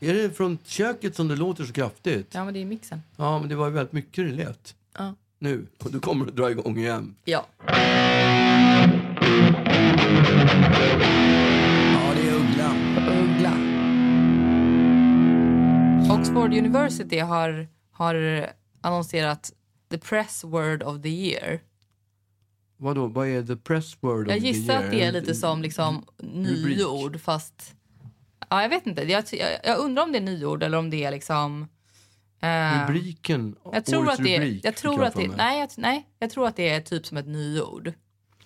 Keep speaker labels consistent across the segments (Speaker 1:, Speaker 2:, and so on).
Speaker 1: Är det från köket som det låter så kraftigt?
Speaker 2: Ja, men det är mixen.
Speaker 1: Ja, men det var ju väldigt mycket det lät.
Speaker 2: Ja.
Speaker 1: Nu. Och du kommer att dra igång igen.
Speaker 2: Ja.
Speaker 1: Ja, det är Uggla.
Speaker 2: Uggla. Oxford University har, har annonserat the press word of the year.
Speaker 1: Vadå, vad är the press word
Speaker 2: Jag
Speaker 1: of the
Speaker 2: gissar
Speaker 1: year?
Speaker 2: att det är lite som liksom
Speaker 1: Rubrik.
Speaker 2: nyord fast... Ja, jag vet inte. Jag, ty- jag, jag undrar om det är nyord eller om det är liksom... eh,
Speaker 1: Rubriken?
Speaker 2: jag tror
Speaker 1: årets
Speaker 2: att det är...
Speaker 1: rubrik,
Speaker 2: Jag
Speaker 1: fick
Speaker 2: tror
Speaker 1: jag
Speaker 2: att
Speaker 1: för
Speaker 2: det,
Speaker 1: mig.
Speaker 2: nej, jag, nej, jag tror att det är typ som ett nyord.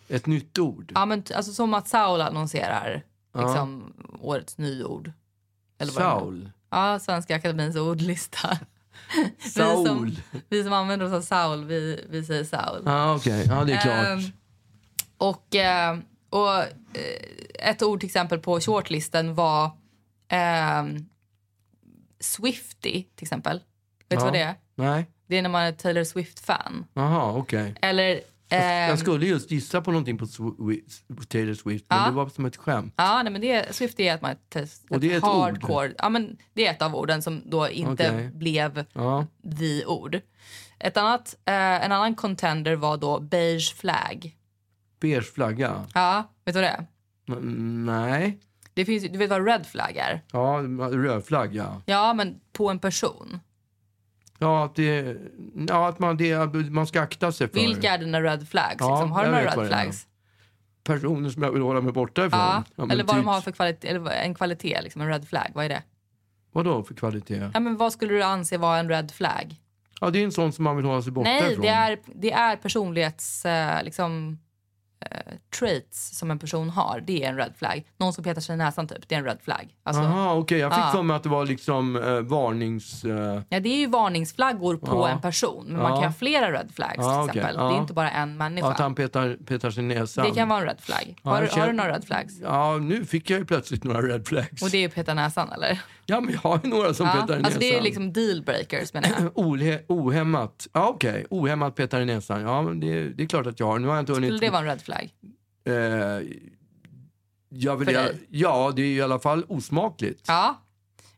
Speaker 1: Ett nytt ord?
Speaker 2: Ja, men t- alltså som att Saul annonserar liksom årets nyord. Eller vad det nu-
Speaker 1: Saul?
Speaker 2: Ja, Svenska Akademiens ordlista. Vi,
Speaker 1: Saul?
Speaker 2: som, vi som använder oss av Saul, vi, vi säger Saul.
Speaker 1: Ja, okej. Ja, det är klart.
Speaker 2: Ehm, och eh, och eh, ett ord till exempel på shortlisten var ehm, Swifty till exempel. Vet du
Speaker 1: Ja.
Speaker 2: vad det är?
Speaker 1: Nej?
Speaker 2: Det är när man är Taylor Swift-fan.
Speaker 1: Jaha, okej.
Speaker 2: Eller... ehm,
Speaker 1: Jag skulle just gissa på någonting på Swi- Taylor Swift, men
Speaker 2: Ja.
Speaker 1: det var som ett skämt.
Speaker 2: Ja, nej, men det, Swift är att man är ett, ett,
Speaker 1: Och det är ett ord?
Speaker 2: hardcore. Ja, men det är ett av orden som då inte
Speaker 1: Okej.
Speaker 2: blev
Speaker 1: Ja.
Speaker 2: the ord. Ett annat, eh, en annan contender var då beige flag.
Speaker 1: Beige flagga?
Speaker 2: Ja, vet du vad det är?
Speaker 1: Mm, nej.
Speaker 2: Det finns, ju- du vet vad red flag är?
Speaker 1: Ja, röd flagga.
Speaker 2: Ja, men på en person.
Speaker 1: Ja, att, det, ja, att man, det, man ska akta sig för
Speaker 2: Vilka är dina red flags?
Speaker 1: Ja,
Speaker 2: liksom? Har du
Speaker 1: jag
Speaker 2: några
Speaker 1: vet vad
Speaker 2: red
Speaker 1: det är.
Speaker 2: flags?
Speaker 1: personer som jag vill hålla mig borta ifrån.
Speaker 2: Ja,
Speaker 1: men
Speaker 2: eller vad de
Speaker 1: typ-
Speaker 2: har för kvalitet, eller vad- en kvalitet, liksom en red flag. Vad är det?
Speaker 1: Vadå för kvalitet?
Speaker 2: Ja, men vad skulle du anse vara en red flag?
Speaker 1: Ja, det är en sån som man vill hålla sig borta
Speaker 2: Nej,
Speaker 1: ifrån.
Speaker 2: det är, det är personlighets... Eh, liksom, eh, traits som en person har, det är en red flag. Någon som petar sig i näsan typ, det är en red flag. Alltså,
Speaker 1: Aha, okej. Jag fick
Speaker 2: Ja.
Speaker 1: för mig att det var liksom eh, varnings... Eh,
Speaker 2: ja, det är ju varningsflaggor på
Speaker 1: Ja.
Speaker 2: en person, men
Speaker 1: Ja.
Speaker 2: man kan ha flera red flags
Speaker 1: Ja,
Speaker 2: till
Speaker 1: okej.
Speaker 2: exempel. Det
Speaker 1: Ja.
Speaker 2: är inte bara en människa.
Speaker 1: att han petar, petar sin näsa.
Speaker 2: det kan vara en red flag.
Speaker 1: Ja,
Speaker 2: har,
Speaker 1: jag
Speaker 2: du- har
Speaker 1: känner-
Speaker 2: du några red flags?
Speaker 1: Ja, nu fick jag ju plötsligt några red flags.
Speaker 2: Och det är ju peta näsan eller?
Speaker 1: Ja, men jag har ju några som
Speaker 2: Ja.
Speaker 1: petar i näsan.
Speaker 2: Alltså det är ju liksom dealbreakers menar jag.
Speaker 1: Ohe- ohämmat. Ja, okej. Ohämmat petar i näsan. Ja, men det, det är klart att jag har. Nu har jag inte
Speaker 2: Skulle
Speaker 1: hunnit...
Speaker 2: det vara en red flag?
Speaker 1: Eh, jag vill
Speaker 2: För
Speaker 1: jag,
Speaker 2: dig?
Speaker 1: ja, det är i alla fall osmakligt.
Speaker 2: Ja.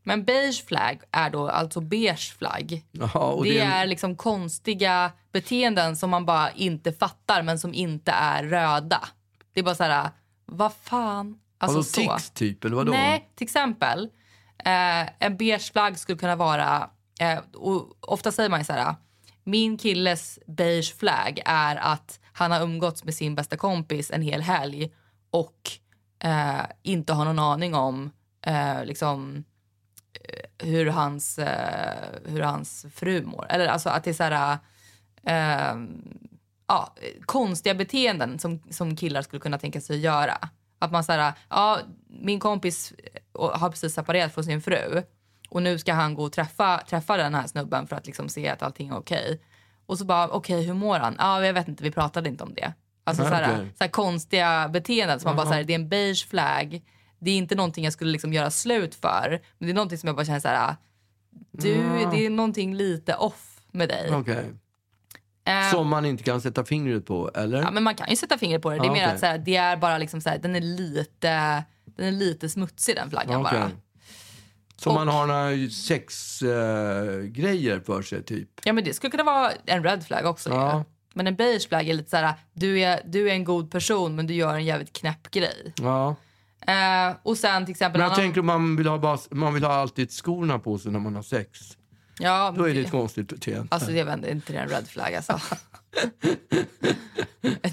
Speaker 2: Men beige flag är då alltså beige flagg.
Speaker 1: Ja, och
Speaker 2: det,
Speaker 1: det är en-
Speaker 2: är liksom konstiga beteenden som man bara inte fattar men som inte är röda. Det är bara så här, vad fan? Alltså
Speaker 1: Alltså,
Speaker 2: så.
Speaker 1: tics typ, eller vadå?
Speaker 2: Nej, till exempel eh, en beige flagg skulle kunna vara, eh, och ofta säger man ju så här, min killes beige flagg är att han har umgåtts med sin bästa kompis en hel helg och eh, inte har någon aning om eh, liksom hur hans, eh, hur hans fru mår. Eller alltså att det är så här... Eh, ja, konstiga beteenden som, som killar skulle kunna tänka sig att göra. Att man så här, ja, min kompis eh, har precis separerat från sin fru och nu ska han gå och träffa, träffa den här snubben för att liksom se att allting är okej. Och så bara, okej hur mår han? Ja, jag vet inte, vi pratade inte om det. Alltså
Speaker 1: Nej,
Speaker 2: så här,
Speaker 1: okej.
Speaker 2: så här konstiga beteenden som man bara så här, det är en beige flagg. Det är inte någonting jag skulle liksom göra slut för. Men det är någonting som jag bara känner så här, ah, du, det är någonting lite off med dig.
Speaker 1: Okej.
Speaker 2: Eh,
Speaker 1: Som man inte kan sätta fingret på, eller?
Speaker 2: Ja, men man kan ju sätta fingret på det. Det är
Speaker 1: Ja,
Speaker 2: mer
Speaker 1: okej.
Speaker 2: att så här, det är bara liksom så här, den är lite, den är lite smutsig den flaggan
Speaker 1: Okej.
Speaker 2: bara.
Speaker 1: Som
Speaker 2: Och-
Speaker 1: man har några sexgrejer eh, grejer för sig, typ.
Speaker 2: Ja men det skulle kunna vara en red flag också
Speaker 1: Ja.
Speaker 2: ju. Men en beige flagg är lite så här, du är, du är en god person men du gör en jävligt knäpp grej.
Speaker 1: Ja.
Speaker 2: Eh, och sen till exempel...
Speaker 1: Men jag
Speaker 2: en annan-
Speaker 1: tänker om man vill, ha bara, man vill ha alltid skorna på sig när man har sex.
Speaker 2: ja,
Speaker 1: Då är det
Speaker 2: det-
Speaker 1: ett konstigt beteende.
Speaker 2: Alltså det vänder inte till en red flag alltså.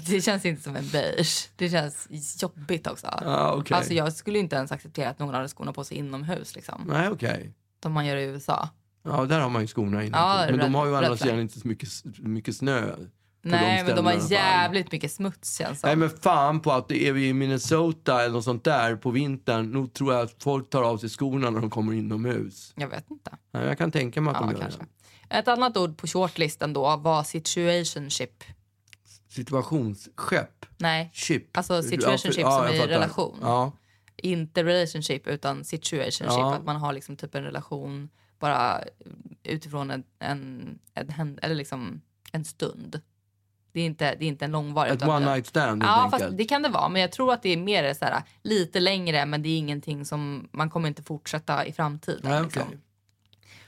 Speaker 2: det känns inte som en beige. Det känns jobbigt också.
Speaker 1: Ja, okej.
Speaker 2: Alltså jag skulle inte ens acceptera att någon hade skorna på sig inomhus liksom.
Speaker 1: Nej, okej.
Speaker 2: Som man gör i USA.
Speaker 1: Ja, där har man ju skorna inne. typ.
Speaker 2: Ja,
Speaker 1: men de
Speaker 2: red-
Speaker 1: har ju å andra
Speaker 2: red flag.
Speaker 1: sidan inte så mycket, mycket snö. på
Speaker 2: Nej men de
Speaker 1: ställena i alla
Speaker 2: har
Speaker 1: fall.
Speaker 2: jävligt mycket smuts känns
Speaker 1: Nej
Speaker 2: som.
Speaker 1: men fan på att det är vi i Minnesota eller något sånt där på vintern. Nog tror jag att folk tar av sig skorna när de kommer inomhus.
Speaker 2: Jag vet inte.
Speaker 1: Nej, jag kan tänka mig att
Speaker 2: Ja,
Speaker 1: de gör
Speaker 2: kanske.
Speaker 1: det.
Speaker 2: Ett annat ord på shortlisten då var situationship.
Speaker 1: Situationsskepp.
Speaker 2: Nej,
Speaker 1: Chip.
Speaker 2: Alltså situationship
Speaker 1: för-
Speaker 2: som
Speaker 1: jag
Speaker 2: i
Speaker 1: fattar.
Speaker 2: relation.
Speaker 1: Ja.
Speaker 2: inte relationship utan situationship.
Speaker 1: Ja.
Speaker 2: Att man har liksom typ en relation bara utifrån en, en, en, händ- eller liksom en stund. Det är inte, det är inte en långvarig.
Speaker 1: Ett
Speaker 2: utan-
Speaker 1: one night stand helt
Speaker 2: Ja,
Speaker 1: enkelt.
Speaker 2: fast det kan det vara. Men jag tror att det är mer så här, lite längre, men det är ingenting som man kommer inte fortsätta i framtiden.
Speaker 1: Nej,
Speaker 2: liksom.
Speaker 1: okej.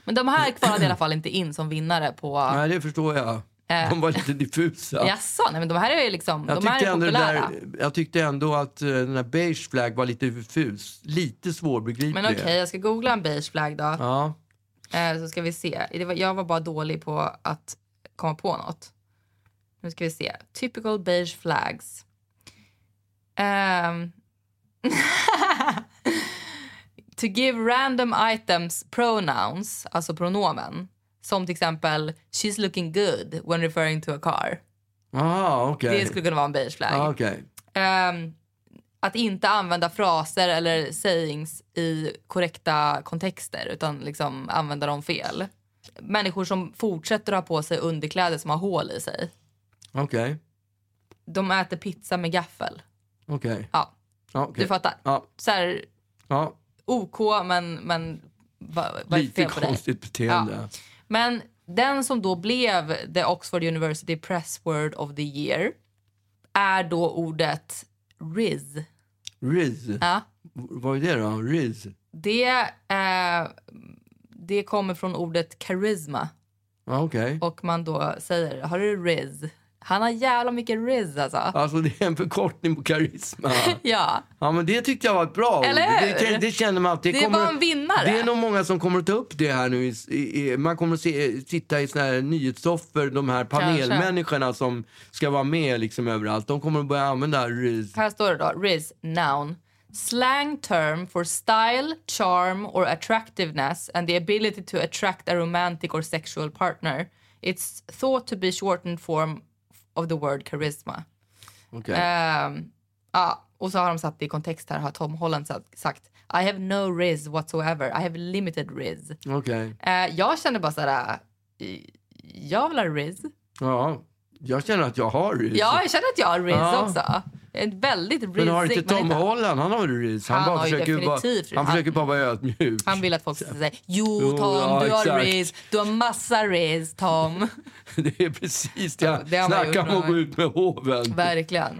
Speaker 2: Men de här kvalade i alla fall inte in som vinnare på...
Speaker 1: Nej, det förstår jag. De var lite diffusa.
Speaker 2: Jaså, nej men de här är ju liksom,
Speaker 1: Jag
Speaker 2: Eh. de här
Speaker 1: tyckte,
Speaker 2: är
Speaker 1: ändå det
Speaker 2: populära.
Speaker 1: där, jag tyckte ändå att eh, den där beige flag var lite diffus. Lite svårbegriplig.
Speaker 2: Men okej, jag ska googla en beige flagg då.
Speaker 1: Ja.
Speaker 2: Eh, så ska vi se. Det var, jag var bara dålig på att komma på något. Nu ska vi se. Typical beige flags. Ehm. to give random items pronouns, alltså pronomen. Som till exempel she's looking good when referring to a car.
Speaker 1: Aha, okej.
Speaker 2: Det skulle kunna vara en beige flagg.
Speaker 1: Ja, okej.
Speaker 2: Ehm, att inte använda fraser eller sayings i korrekta kontexter utan liksom använda dem fel. Människor som fortsätter att ha på sig underkläder som har hål i sig.
Speaker 1: Okej.
Speaker 2: De äter pizza med gaffel.
Speaker 1: Okej.
Speaker 2: Ja,
Speaker 1: Ja, okej.
Speaker 2: du fattar.
Speaker 1: Ja,
Speaker 2: Så här,
Speaker 1: ja.
Speaker 2: OK, men, men vad, vad är
Speaker 1: Lite
Speaker 2: fel på dig?
Speaker 1: konstigt beteende.
Speaker 2: Men den som då blev The Oxford University Press Word of the Year är då ordet Riz.
Speaker 1: Riz.
Speaker 2: Ja.
Speaker 1: Vad är det då? Riz?
Speaker 2: Det, eh, det kommer från ordet charisma.
Speaker 1: Ja, okej.
Speaker 2: Och man då säger, har du riz? Han har jävla mycket riz alltså. Ja.
Speaker 1: Alltså det är en förkortning på karisma. Ja men det tyckte jag var ett bra ord.
Speaker 2: Eller hur?
Speaker 1: det, det, det känner man att det,
Speaker 2: Det är
Speaker 1: kommer...
Speaker 2: bara en vinnare.
Speaker 1: Det är nog många som kommer att ta upp det här nu. I, i, i- man kommer att se, sitta i såna här nyhetssoffor, de här panelmänniskorna som ska vara med liksom överallt. De kommer att börja använda RIS.
Speaker 2: Här står det då, riz, noun. Slang term for style, charm or attractiveness and the ability to attract a romantic or sexual partner. It's thought to be shortened form of the word charisma.
Speaker 1: Okej.
Speaker 2: Ehm, ja, och så har de satt i kontext här har Tom Holland sagt- sagt I have no riz whatsoever. I have limited riz.
Speaker 1: Okej.
Speaker 2: Eh, jag känner bara såhär, jag vill ha riz.
Speaker 1: Ja. Jag känner att jag har RIS.
Speaker 2: Ja, jag känner att jag har riz
Speaker 1: Ja.
Speaker 2: också. En väldigt rizig
Speaker 1: men har inte Tom
Speaker 2: människa.
Speaker 1: Holland, han har väl RIS?
Speaker 2: Han
Speaker 1: bara
Speaker 2: har ju
Speaker 1: försöker ju bara,
Speaker 2: definitivt
Speaker 1: han
Speaker 2: RIS.
Speaker 1: försöker bara vara ödmjuk.
Speaker 2: Han vill att folk ska säga jo
Speaker 1: Jo,
Speaker 2: Tom,
Speaker 1: ja,
Speaker 2: du har
Speaker 1: exakt.
Speaker 2: riz, du har massa riz Tom.
Speaker 1: Det är precis det.
Speaker 2: det har
Speaker 1: han
Speaker 2: man gjort
Speaker 1: Snacka om att
Speaker 2: några
Speaker 1: gå ut med hoven.
Speaker 2: Verkligen.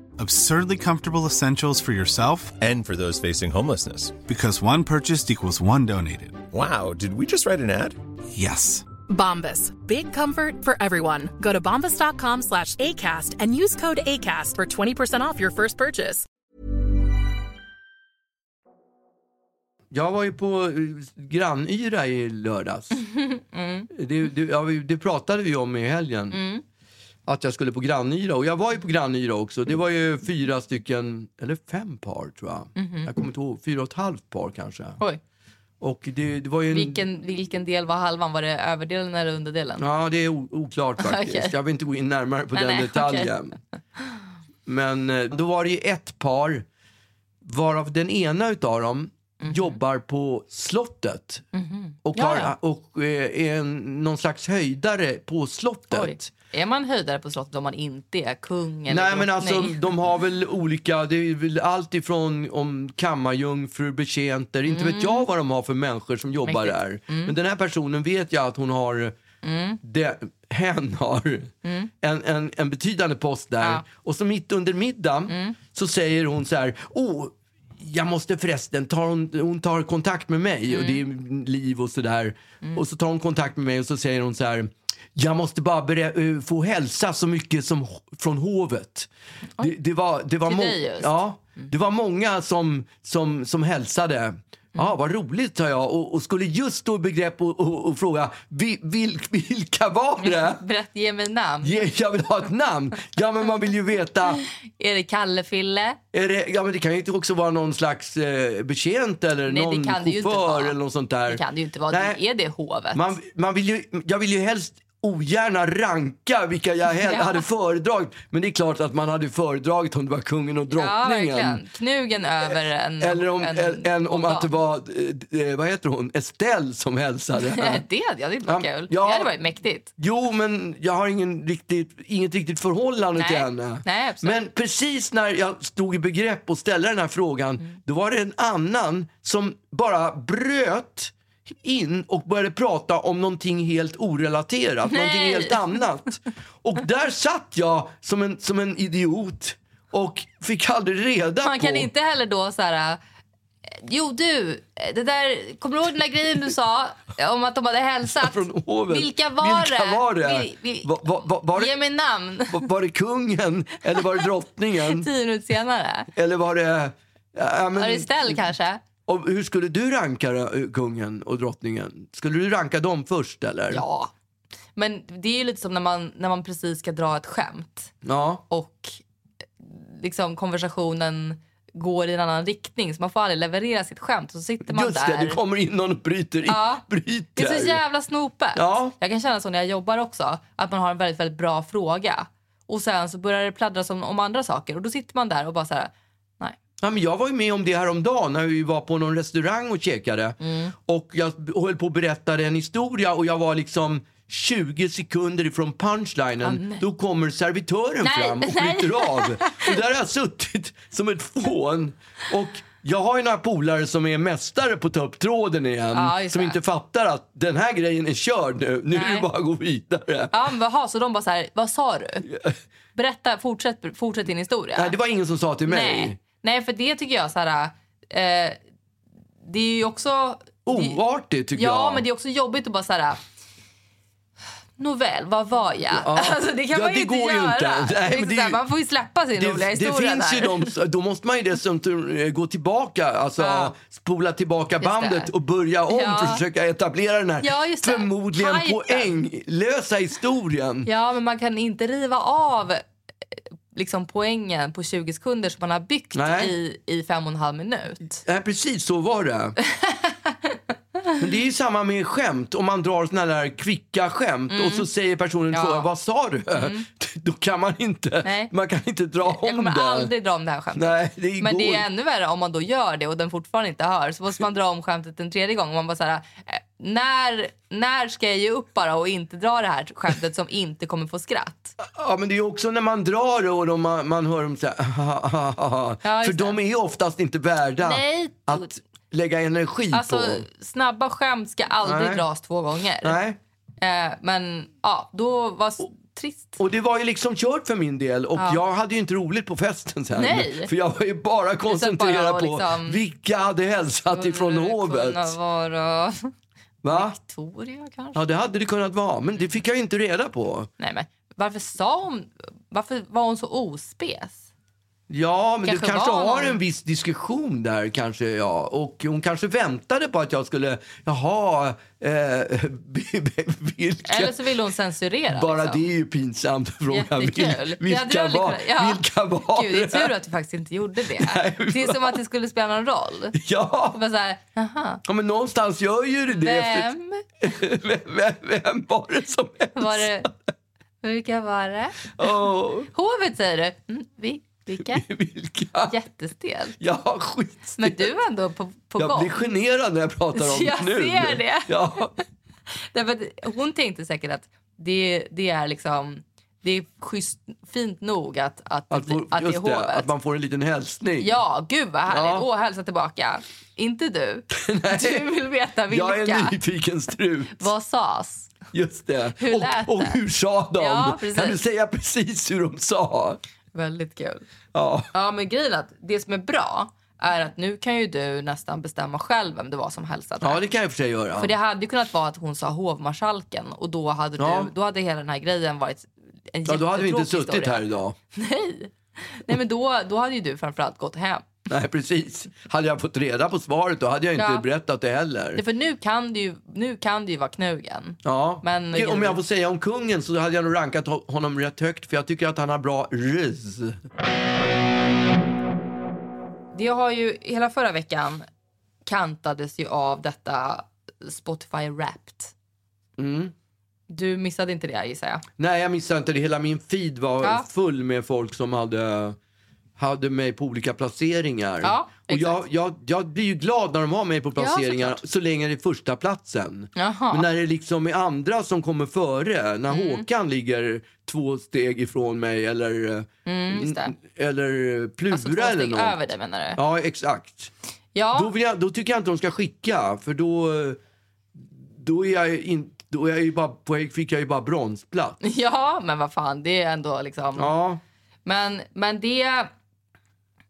Speaker 3: Absurdly comfortable essentials for yourself
Speaker 4: And for those facing homelessness.
Speaker 3: because one purchased equals one donated.
Speaker 4: Wow, did we just write an ad?
Speaker 3: Yes.
Speaker 5: Bombas. Big comfort for everyone. Go to bombas.com slash ACAST and use code ACAST for 20% off your first purchase.
Speaker 1: Jag var ju på eh, grannyra i lördags.
Speaker 2: Mm.
Speaker 1: Det, det, ja, vi- det pratade vi om i helgen. Att jag skulle på grannyra. Och jag var ju på grannyra också. Det var ju
Speaker 2: Mm.
Speaker 1: fyra stycken, eller fem par tror jag.
Speaker 2: Mhm.
Speaker 1: Jag kommer inte ihåg. Fyra och ett halvt par kanske.
Speaker 2: Oj.
Speaker 1: Och det, det var ju en...
Speaker 2: Vilken, vilken del var halvan? Var det överdelen eller underdelen?
Speaker 1: Ja, det är o- oklart faktiskt.
Speaker 2: Okej.
Speaker 1: Jag vill inte gå in närmare på
Speaker 2: Nej,
Speaker 1: den
Speaker 2: nej,
Speaker 1: detaljen. Men eh, då var det ju ett par, varav den ena utav dem jobbar på slottet. Och,
Speaker 2: Mhm. Ja,
Speaker 1: har,
Speaker 2: ja.
Speaker 1: och eh, är en, någon slags höjdare på slottet.
Speaker 2: Oj. Är man höjdare på slottet om man inte är kung eller
Speaker 1: Nej men alltså
Speaker 2: drottning?
Speaker 1: de har väl olika, det är väl allt ifrån om kammarjungfrur, betjänter, inte
Speaker 2: Mm.
Speaker 1: vet jag vad de har för människor som jobbar
Speaker 2: Mäktigt.
Speaker 1: där. Men den här personen vet jag att hon har,
Speaker 2: Mm.
Speaker 1: det, hen har en, en, en betydande post där.
Speaker 2: Ja. Mm.
Speaker 1: Och så mitt under middagen så säger hon så här, oh, jag måste förresten, tar hon, hon tar kontakt med mig och det
Speaker 2: Mm.
Speaker 1: är liv och sådär. Och så tar hon kontakt med mig och så säger hon så här, jag måste bara berä- eh, få hälsa så mycket som ho- från hovet. Det, det var, det var
Speaker 2: Till
Speaker 1: må-
Speaker 2: dig just.
Speaker 1: Ja, det var många som, som, som hälsade
Speaker 2: Mm.
Speaker 1: Ja, vad roligt, sa jag och, och skulle just stå i begrepp och, och, och fråga vil, vil, vilka var det?
Speaker 2: Berätta, ge mig namn.
Speaker 1: Ja, Jag vill ha ett namn. Ja, men man vill ju veta.
Speaker 2: Är det Kalle-Fille?
Speaker 1: Är det, ja, men det kan ju inte också vara någon slags eh, betjänt eller
Speaker 2: Nej, det
Speaker 1: någon
Speaker 2: kan det ju inte
Speaker 1: chaufför
Speaker 2: vara.
Speaker 1: eller något sånt där.
Speaker 2: Det kan det ju inte vara.
Speaker 1: Nej.
Speaker 2: Det är det hovet.
Speaker 1: Man, man vill ju, jag vill ju helst ogärna ranka vilka jag hel-
Speaker 2: Ja.
Speaker 1: hade föredragit. Men det är klart att man hade föredragit om det var kungen och
Speaker 2: ja,
Speaker 1: drottningen.
Speaker 2: verkligen. Knugen över en...
Speaker 1: eller om,
Speaker 2: en,
Speaker 1: en, en, om att det var eh, eh, vad heter hon? Estelle som hälsade. Ja.
Speaker 2: det, ja, det hade inte varit
Speaker 1: Ja,
Speaker 2: kul.
Speaker 1: ja.
Speaker 2: Det hade varit mäktigt.
Speaker 1: Jo, men jag har ingen riktigt, inget riktigt förhållande
Speaker 2: Nej.
Speaker 1: till henne.
Speaker 2: Nej, absolut.
Speaker 1: men precis när jag stod i begrepp att ställa den här frågan,
Speaker 2: Mm.
Speaker 1: då var det en annan som bara bröt in och började prata om någonting helt orelaterat, någonting
Speaker 2: Nej.
Speaker 1: helt annat. Och där satt jag som en, som en idiot och fick aldrig reda
Speaker 2: Man
Speaker 1: på...
Speaker 2: kan inte heller då så här... eh, Jo du, eh, det där, kommer du ihåg den där grejen du sa om att de hade hälsat?
Speaker 1: Från hovet.
Speaker 2: Vilka var
Speaker 1: Vilka
Speaker 2: det?
Speaker 1: Var det?
Speaker 2: Vi- vi-
Speaker 1: Va- va- va- var,
Speaker 2: Ge
Speaker 1: det
Speaker 2: mig namn.
Speaker 1: va- var det kungen eller var det drottningen?
Speaker 2: Tio minuter senare.
Speaker 1: Eller var det... Ja, men,
Speaker 2: Var det Estelle kanske?
Speaker 1: och hur skulle du ranka eh, kungen och drottningen? Skulle du ranka dem först eller?
Speaker 2: Ja. Men det är ju lite som när man, när man precis ska dra ett skämt
Speaker 1: Ja,
Speaker 2: och eh, liksom konversationen går i en annan riktning så man får aldrig leverera sitt skämt. Så sitter man
Speaker 1: Just
Speaker 2: där.
Speaker 1: det, det kommer in någon och bryter.
Speaker 2: Ja.
Speaker 1: bryter.
Speaker 2: Det är så jävla snopet.
Speaker 1: Ja.
Speaker 2: Jag kan känna så när jag jobbar också. Att man har en väldigt, väldigt bra fråga. Och sen så börjar det pladdras om, om andra saker. Och då sitter man där och bara så här. Nej.
Speaker 1: Ja, men jag var ju med om det här om dagen när vi var på någon restaurang och käkade.
Speaker 2: Mm.
Speaker 1: Och jag b- höll på att berätta en historia och jag var liksom 20 sekunder ifrån punchlinen. då kommer servitören
Speaker 2: Nej,
Speaker 1: fram och
Speaker 2: nej.
Speaker 1: bryter av. Och där har jag suttit som ett fån. Och jag har ju några polare som är mästare på att ta upp tråden igen.
Speaker 2: Ja, just
Speaker 1: som
Speaker 2: det.
Speaker 1: inte fattar att den här grejen är körd nu. Nu är det
Speaker 2: Nej.
Speaker 1: bara att gå vidare.
Speaker 2: Ja, men vaha, så de bara så här. Vad sa du? Berätta, fortsätt, fortsätt din historia.
Speaker 1: Nej, det var ingen som sa till mig.
Speaker 2: Nej. Nej, för det tycker jag så här. Eh, det är ju också...
Speaker 1: Oartigt tycker jag.
Speaker 2: Ja, men det är också jobbigt att bara så här... Nåväl, vad var jag? Alltså, det kan
Speaker 1: Ja,
Speaker 2: man ju
Speaker 1: det
Speaker 2: inte
Speaker 1: går ju
Speaker 2: göra.
Speaker 1: inte. Nej, men
Speaker 2: Liksom
Speaker 1: det är
Speaker 2: så här,
Speaker 1: ju-
Speaker 2: Man får ju släppa sin
Speaker 1: Det,
Speaker 2: roliga
Speaker 1: det
Speaker 2: historia
Speaker 1: finns ju
Speaker 2: där.
Speaker 1: de, som- då måste man ju dessutom eh, gå tillbaka, alltså
Speaker 2: Ja.
Speaker 1: spola tillbaka
Speaker 2: det.
Speaker 1: bandet och börja om
Speaker 2: Ja.
Speaker 1: för att försöka etablera den här
Speaker 2: Ja, just det.
Speaker 1: förmodligen
Speaker 2: Hypen.
Speaker 1: poänglösa historien.
Speaker 2: Ja, men man kan inte riva av eh, liksom, poängen på 20 sekunder som man har byggt
Speaker 1: Nej.
Speaker 2: i, i fem och en halv minut.
Speaker 1: Nej, precis så var det. Men det är ju samma med skämt. Om man drar såna där kvicka skämt och så säger personen
Speaker 2: Mm. Ja. Mm.
Speaker 1: ja. vad sa du? Då kan man inte,
Speaker 2: Nej.
Speaker 1: man kan inte dra
Speaker 2: Jag
Speaker 1: om
Speaker 2: kommer
Speaker 1: det.
Speaker 2: aldrig dra om det här skämtet.
Speaker 1: Nej, det
Speaker 2: Men
Speaker 1: går
Speaker 2: det är
Speaker 1: inte.
Speaker 2: ännu värre om man då gör det och den fortfarande inte hör. Så måste man dra om skämtet en tredje gång. Och man bara så här, eh, när, när ska jag ge upp bara och inte dra det här skämtet som inte kommer få skratt?
Speaker 1: Ja, men det är ju också när man drar och de, man, man hör dem säga
Speaker 2: Ja,
Speaker 1: För
Speaker 2: just det.
Speaker 1: de är ju oftast inte värda
Speaker 2: Nej.
Speaker 1: att lägga energi
Speaker 2: Alltså
Speaker 1: på.
Speaker 2: snabba skämt ska aldrig
Speaker 1: Nej.
Speaker 2: dras två gånger.
Speaker 1: Nej.
Speaker 2: Eh, men ja, då var s- trist.
Speaker 1: Och det var ju liksom kört för min del och jag hade ju inte roligt på festen sen.
Speaker 2: Nej.
Speaker 1: För jag var ju bara koncentrerad
Speaker 2: bara att
Speaker 1: på
Speaker 2: liksom-
Speaker 1: vilka hade hälsat ifrån
Speaker 2: Skulle det
Speaker 1: hovet.
Speaker 2: kunna vara
Speaker 1: Va?
Speaker 2: Victoria kanske?
Speaker 1: Ja, det hade det kunnat vara, men det fick jag ju inte reda på.
Speaker 2: Nej men varför sa hon, varför var hon så ospes?
Speaker 1: Ja, men
Speaker 2: Kanske
Speaker 1: du kanske
Speaker 2: var
Speaker 1: har
Speaker 2: någon-
Speaker 1: en viss diskussion där kanske, ja. Och hon kanske väntade på att jag skulle, jaha, eh, vilka...
Speaker 2: Eller så ville hon censurera.
Speaker 1: Bara
Speaker 2: liksom.
Speaker 1: det är ju pinsamt att fråga vil,
Speaker 2: Jättekul. Det hade
Speaker 1: vilka,
Speaker 2: jag aldrig
Speaker 1: var,
Speaker 2: kunnat- ja.
Speaker 1: vilka var
Speaker 2: Gud, det är tur att du faktiskt inte gjorde det.
Speaker 1: Nej,
Speaker 2: det är som att det skulle spela någon roll.
Speaker 1: Ja.
Speaker 2: Det var så här, aha,
Speaker 1: ja, men någonstans gör ju det det. efter-
Speaker 2: vem
Speaker 1: Vem, vem, vem var det som
Speaker 2: var det? Vilka var det?
Speaker 1: Åh,
Speaker 2: Hovet säger du. Mm, vi, vilka?
Speaker 1: vilka?
Speaker 2: Jättestelt.
Speaker 1: Ja, skit.
Speaker 2: Men du var ändå på, på
Speaker 1: Jag
Speaker 2: gång.
Speaker 1: blir generad när jag pratar om
Speaker 2: Jag
Speaker 1: det nu.
Speaker 2: ser det.
Speaker 1: Ja.
Speaker 2: Därför att hon tänkte säkert att det, det är liksom det är schysst, fint nog att, att,
Speaker 1: Att,
Speaker 2: att,
Speaker 1: få,
Speaker 2: det är
Speaker 1: just det,
Speaker 2: hovet.
Speaker 1: att man får en liten hälsning.
Speaker 2: Ja, gud vad härligt.
Speaker 1: Ja.
Speaker 2: Åh, hälsa tillbaka. Inte du. Du vill veta vilka.
Speaker 1: Jag är en nyfiken strut.
Speaker 2: Vad sas?
Speaker 1: Just det.
Speaker 2: Hur
Speaker 1: och,
Speaker 2: lät
Speaker 1: och
Speaker 2: det?
Speaker 1: hur sa de?
Speaker 2: Ja, precis.
Speaker 1: kan du säga precis hur de sa?
Speaker 2: Väldigt kul.
Speaker 1: Ja.
Speaker 2: Ja, men grejen är att det som är bra är att nu kan ju du nästan bestämma själv vem det var som hälsade.
Speaker 1: ja, det kan jag i och för sig göra.
Speaker 2: För det hade ju kunnat vara att hon sa hovmarskalken och då hade,
Speaker 1: Ja.
Speaker 2: du, då hade hela den här grejen varit en
Speaker 1: ja, då hade vi inte
Speaker 2: jättetråkig
Speaker 1: suttit
Speaker 2: historia.
Speaker 1: här idag.
Speaker 2: Nej, Nej men då, då hade ju du framförallt gått hem.
Speaker 1: Nej, precis. Hade jag fått reda på svaret då hade jag inte
Speaker 2: Ja.
Speaker 1: berättat det heller.
Speaker 2: Det- För nu kan det ju, nu kan det ju vara knugen.
Speaker 1: Ja.
Speaker 2: Men-
Speaker 1: Okej, om jag får säga om kungen så hade jag nog rankat ho- honom rätt högt för jag tycker att han har bra ryz.
Speaker 2: Det har ju, hela förra veckan kantades ju av detta Spotify Wrapped.
Speaker 1: Mm.
Speaker 2: Du missade inte det gissar jag.
Speaker 1: Nej, jag missade inte det. Hela min feed var
Speaker 2: Ja.
Speaker 1: full med folk som hade, hade mig på olika placeringar.
Speaker 2: Ja,
Speaker 1: och jag,
Speaker 2: exakt.
Speaker 1: jag, jag blir ju glad när de har mig på placeringar
Speaker 2: såklart.
Speaker 1: så länge det är första platsen.
Speaker 2: Jaha. Mm.
Speaker 1: Men när det liksom är andra som kommer före, när Håkan ligger två steg ifrån mig eller, eh,
Speaker 2: Mm, Just det.
Speaker 1: eller eh, Plura
Speaker 2: Alltså två
Speaker 1: eller
Speaker 2: steg
Speaker 1: något.
Speaker 2: över det menar du?
Speaker 1: Ja, exakt.
Speaker 2: Ja.
Speaker 1: Då, vill jag, då tycker jag inte de ska skicka, för då, eh, då, är, jag in, då är jag ju bara, på- fick jag ju bara bronsplats.
Speaker 2: Ja, men vad fan, det är ändå liksom...
Speaker 1: Ja,
Speaker 2: Men, men det,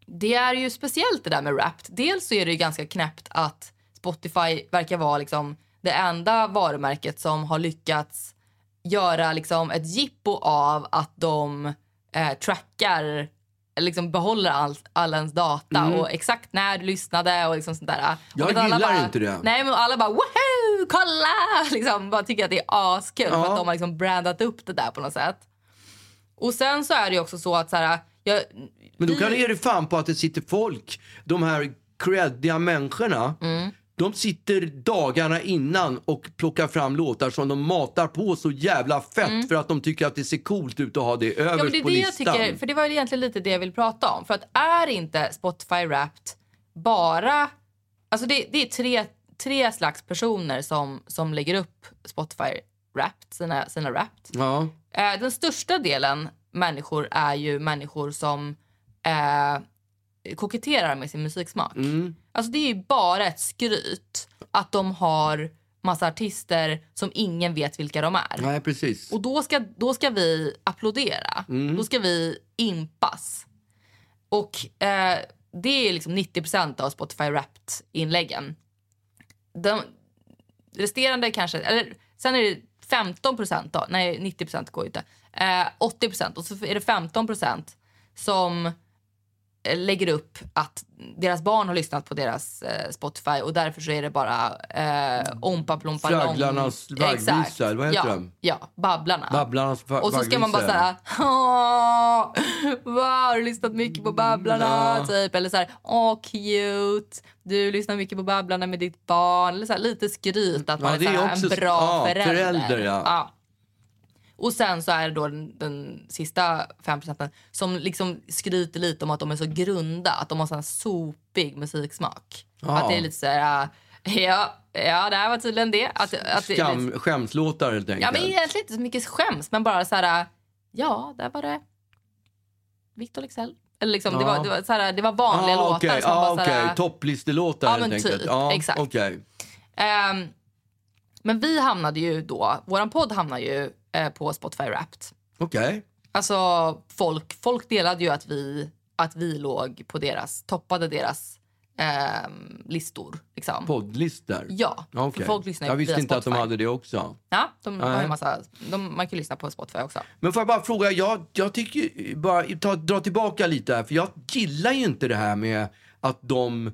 Speaker 2: det är ju speciellt det där med Wrapped. Dels så är det ju ganska knäppt att Spotify verkar vara liksom det enda varumärket som har lyckats göra liksom ett jippo av att de eh, trackar liksom behåller all, all ens data och exakt när du lyssnade och liksom sånt där.
Speaker 1: Mm. Jag
Speaker 2: Och att alla
Speaker 1: gillar
Speaker 2: bara,
Speaker 1: inte det.
Speaker 2: Nej men alla bara woho, kolla! Liksom bara tycker att det är askul för
Speaker 1: Ja.
Speaker 2: att de har liksom brandat upp det där på något sätt. Och sen så är det ju också så att så här, jag,
Speaker 1: men
Speaker 2: Mm.
Speaker 1: då kan du ge dig fan på att det sitter folk, de här creddiga människorna,
Speaker 2: Mm.
Speaker 1: de sitter dagarna innan och plockar fram låtar som de matar på så jävla fett för att de tycker att det ser coolt ut att ha det överst
Speaker 2: Mm. ja, men det är
Speaker 1: på
Speaker 2: det jag
Speaker 1: listan.
Speaker 2: tycker, för det var ju egentligen lite det jag ville prata om. För att är inte Spotify Wrapped bara, alltså det, det är tre, tre slags personer som, som lägger upp Spotify Wrapped, sina, sina Wrapped.
Speaker 1: Ja.
Speaker 2: Eh, den största delen människor är ju människor som eh, koketterar med sin musiksmak. Alltså det är ju bara ett skryt att de har massa artister som ingen vet vilka de är.
Speaker 1: Nej, precis. Mm.
Speaker 2: Och då ska, då ska vi applådera. Då ska vi impas. Och eh, det är liksom 90 av Spotify Wrapped-inläggen. De resterande kanske... Eller, sen är det 15 då. Nej, 90 går ju inte. Eh, 80 och så är det 15 som eh, lägger upp att deras barn har lyssnat på deras eh, Spotify och därför så är det bara eh, ompa plompa lång.
Speaker 1: Fragglarnas vaggvisa,
Speaker 2: Exakt.
Speaker 1: eller vad heter
Speaker 2: ja,
Speaker 1: de?
Speaker 2: Ja, Babblarna.
Speaker 1: Babblarnas va-
Speaker 2: Och så ska man bara
Speaker 1: vaggvisor.
Speaker 2: såhär, åh, wow, har du lyssnat mycket på Babblarna?
Speaker 1: Mm, Ja.
Speaker 2: Typ. Eller såhär, åh cute, du lyssnar mycket på Babblarna med ditt barn. Eller såhär, lite skryt att man
Speaker 1: Ja,
Speaker 2: är,
Speaker 1: det är
Speaker 2: såhär,
Speaker 1: också-
Speaker 2: en bra
Speaker 1: ja,
Speaker 2: förälder.
Speaker 1: förälder, ja.
Speaker 2: Och sen så är det då den, den sista 5 procenten som liksom skryter lite om att de är så grunda, att de har sån här sopig musiksmak.
Speaker 1: Ja.
Speaker 2: Att det är lite såhär, ja, ja det här var tydligen det. Att, att det är lite-
Speaker 1: Skam, skämslåtar helt enkelt.
Speaker 2: Ja, men egentligen inte så mycket skäms, men bara så här... Ja, där var det Victor Leksell. Eller liksom, det,
Speaker 1: Ja.
Speaker 2: var, det, var så här, det var vanliga låtar.
Speaker 1: okej,
Speaker 2: som
Speaker 1: ah,
Speaker 2: bara så här,
Speaker 1: okej. Topplistelåtar
Speaker 2: Ja,
Speaker 1: helt
Speaker 2: men
Speaker 1: enkelt.
Speaker 2: typ,
Speaker 1: Ja,
Speaker 2: exakt.
Speaker 1: okej.
Speaker 2: Ehm, men vi hamnade ju då, våran podd hamnade ju eh, på Spotify Wrapped.
Speaker 1: Okej.
Speaker 2: Alltså folk, folk delade ju att vi, att vi låg på deras, toppade deras ehm, listor. Liksom.
Speaker 1: Poddlistor. Ah,
Speaker 2: Ja, för
Speaker 1: Okej.
Speaker 2: folk lyssnar ju
Speaker 1: Jag visste
Speaker 2: via
Speaker 1: inte att de
Speaker 2: Spotify.
Speaker 1: hade det också.
Speaker 2: Ja, de, har ju
Speaker 1: Nej.
Speaker 2: massa, de, man kan ju lyssna på Spotify också.
Speaker 1: Men får jag bara fråga, jag, jag tycker ju- bara ta, dra tillbaka lite här, för jag gillar ju inte det här med att de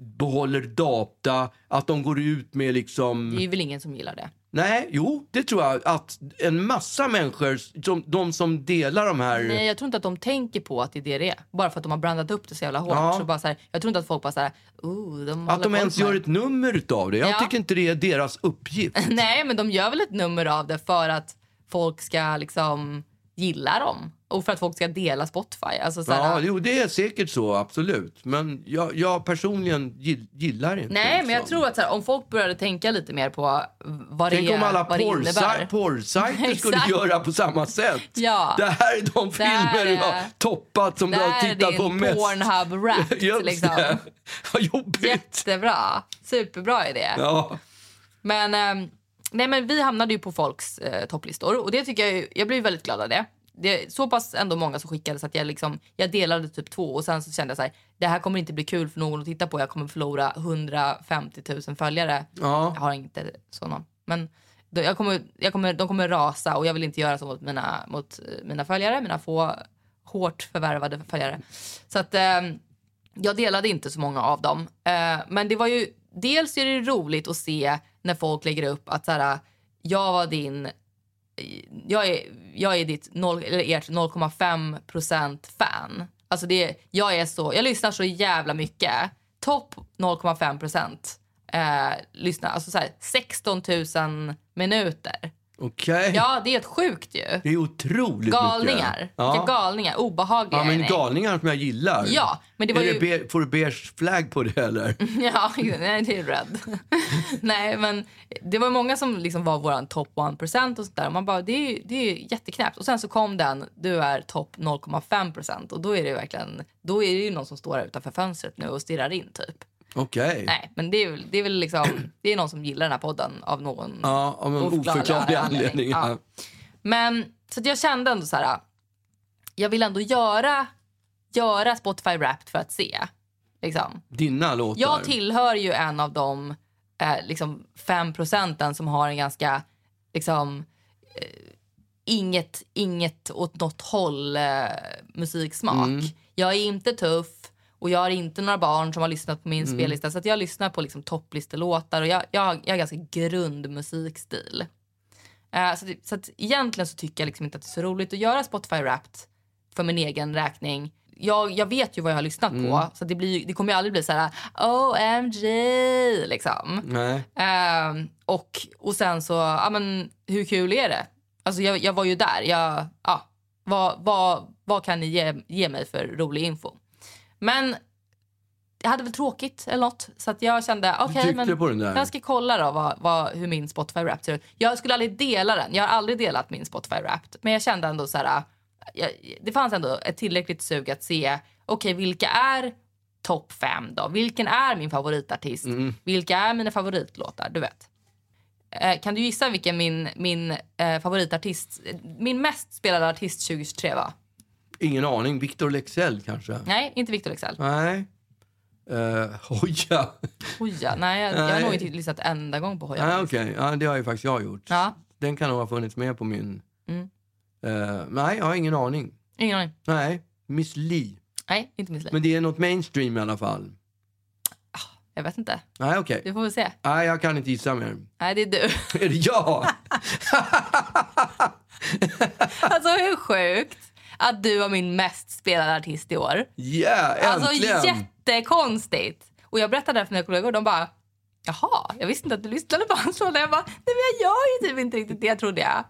Speaker 1: behåller data, att de går ut med liksom...
Speaker 2: Det är väl ingen som gillar det.
Speaker 1: Nej, jo, det tror jag. Att en massa människor, som, de som delar de här...
Speaker 2: Nej, jag tror inte att de tänker på att det är det det är. Bara för att de har brandat upp det så jävla hårt.
Speaker 1: Ja.
Speaker 2: Så bara så här, jag tror inte att folk bara så här, oh, de
Speaker 1: att de
Speaker 2: håller koll
Speaker 1: ens
Speaker 2: på
Speaker 1: gör
Speaker 2: mig."
Speaker 1: ett nummer utav det. Jag
Speaker 2: Ja.
Speaker 1: tycker inte det är deras uppgift.
Speaker 2: Nej, men de gör väl ett nummer av det för att folk ska liksom gilla dem. Och för att folk ska dela Spotify. Alltså så här,
Speaker 1: Ja, jo, det är säkert så, absolut. Men jag, jag personligen gill, gillar inte
Speaker 2: Nej, men jag
Speaker 1: liksom.
Speaker 2: tror att så här, om folk började tänka lite mer på vad
Speaker 1: Tänk
Speaker 2: det,
Speaker 1: om alla
Speaker 2: vad det
Speaker 1: porrsaj-
Speaker 2: innebär.
Speaker 1: porrsajter skulle
Speaker 2: Exakt.
Speaker 1: göra på samma sätt.
Speaker 2: Ja.
Speaker 1: Det här är de filmer du har
Speaker 2: är-
Speaker 1: toppat som
Speaker 2: Det
Speaker 1: du har
Speaker 2: här är
Speaker 1: tittat på
Speaker 2: din
Speaker 1: mest.
Speaker 2: Pornhub-rap.
Speaker 1: Just
Speaker 2: liksom.
Speaker 1: det. Vad jobbigt.
Speaker 2: Jättebra. Superbra idé.
Speaker 1: Ja.
Speaker 2: Men, ehm, nej, men vi hamnade ju på folks eh, topplistor och det tycker jag, ju- jag blev väldigt glad av det. Det är så pass ändå många som skickade så att jag, liksom, jag delade typ två och sen så kände jag så här, det här kommer inte bli kul för någon att titta på. Jag kommer förlora 150 000 följare.
Speaker 1: Ja.
Speaker 2: Jag har inte sådana. Men då- jag kommer, jag kommer, de kommer rasa och jag vill inte göra så mot mina, mot eh, mina följare, mina få hårt förvärvade följare. Så att ehm, Jag delade inte så många av dem. Eh, men det var ju, dels är det roligt att se när folk lägger upp att så här, jag var din, jag är, jag är ditt noll, eller ert 0,5 procent fan. Alltså det, jag är så, jag lyssnar så jävla mycket. Topp 0,5 procent. Eh, lyssna, alltså så här, 16 000 minuter.
Speaker 1: Okej.
Speaker 2: Ja, det är ett sjukt ju.
Speaker 1: Det är otroligt
Speaker 2: Galningar.
Speaker 1: mycket.
Speaker 2: Vilka galningar. Obehagliga
Speaker 1: Ja,
Speaker 2: är
Speaker 1: men
Speaker 2: ni.
Speaker 1: galningar som jag gillar.
Speaker 2: Ja, men det var
Speaker 1: är
Speaker 2: ju... Mm.
Speaker 1: det be- får du beige flagg på det eller?
Speaker 2: Ja, nej, det är red. nej, men det var många som liksom var våran topp 1% och sånt där. Och Man bara, det är, ju- det är ju jätteknäppt. Och sen så kom den, du är topp 0,5% och då är det ju verkligen, då är det ju någon som står här utanför fönstret nu och stirrar in typ.
Speaker 1: Okej.
Speaker 2: Nej, men det är, väl- det är väl liksom, det är någon som gillar den här podden av någon
Speaker 1: Ja, av en
Speaker 2: oförklarlig
Speaker 1: oförklarlig anledning.
Speaker 2: Ja.
Speaker 1: Ja.
Speaker 2: Men så att jag kände ändå så här, jag vill ändå göra, göra Spotify Wrapped för att se. Liksom.
Speaker 1: Dina låtar.
Speaker 2: Jag tillhör ju en av de eh, liksom 5 procenten som har en ganska liksom, eh, inget, inget åt något håll eh, musiksmak. Jag är inte tuff och jag har inte några barn som har lyssnat på min spellista. Så att jag lyssnar på liksom, topplistelåtar och jag, jag, har- jag har ganska grund musikstil. Eh, så, det, så att egentligen så tycker jag liksom inte att det är så roligt att göra Spotify Wrapped för min egen räkning. Jag, jag vet ju vad jag har lyssnat på så det, blir, ju- det kommer ju aldrig bli så här OMG liksom.
Speaker 1: Nej.
Speaker 2: Ehm, och, och sen så, ja men hur kul är det? Alltså jag, jag var ju där. Jag, ja, vad, vad, vad kan ni ge, ge mig för rolig info? Men jag hade väl tråkigt eller något så att jag kände okej
Speaker 1: tryckte
Speaker 2: men
Speaker 1: på den där.
Speaker 2: jag ska kolla då vad, vad, hur min Spotify Wrapped ser ut. Jag skulle aldrig dela den. Jag har aldrig delat min Spotify Wrapped. Men jag kände ändå så här, jag, det fanns ändå ett tillräckligt sug att se okej vilka är topp fem då? Vilken är min favoritartist?
Speaker 1: Mm.
Speaker 2: Vilka är mina favoritlåtar? Du vet. Eh, kan du gissa vilken min, min eh, favoritartist, min mest spelade artist 2023 var?
Speaker 1: Ingen aning. Victor Lexell kanske?
Speaker 2: Nej, inte Victor Leksell.
Speaker 1: Nej. Uh, Hoja.
Speaker 2: Hoja. Nej, jag, jag har
Speaker 1: Nej.
Speaker 2: nog inte lyssnat en enda gång på Hoja.
Speaker 1: Nej, okej. Ja, det har ju faktiskt jag gjort.
Speaker 2: Ja. Mm.
Speaker 1: Den kan nog ha funnits med på min... Eh, nej, jag har ingen aning.
Speaker 2: Ingen aning.
Speaker 1: Nej. Miss Li.
Speaker 2: Nej, inte Miss Li.
Speaker 1: Men det är något mainstream i alla fall.
Speaker 2: Jag vet inte.
Speaker 1: Nej, okej.
Speaker 2: Du får väl se.
Speaker 1: Nej, jag kan inte gissa mer.
Speaker 2: Nej, det är du.
Speaker 1: Är det jag?
Speaker 2: Alltså hur sjukt att du var min mest spelade artist i år.
Speaker 1: Yeah,
Speaker 2: Alltså
Speaker 1: äntligen!
Speaker 2: jättekonstigt. Och jag berättade det här för mina kollegor och de bara Jaha, jag visste inte att du lyssnade på hans låtar. Jag bara, nej men jag gör ju typ inte riktigt det trodde jag.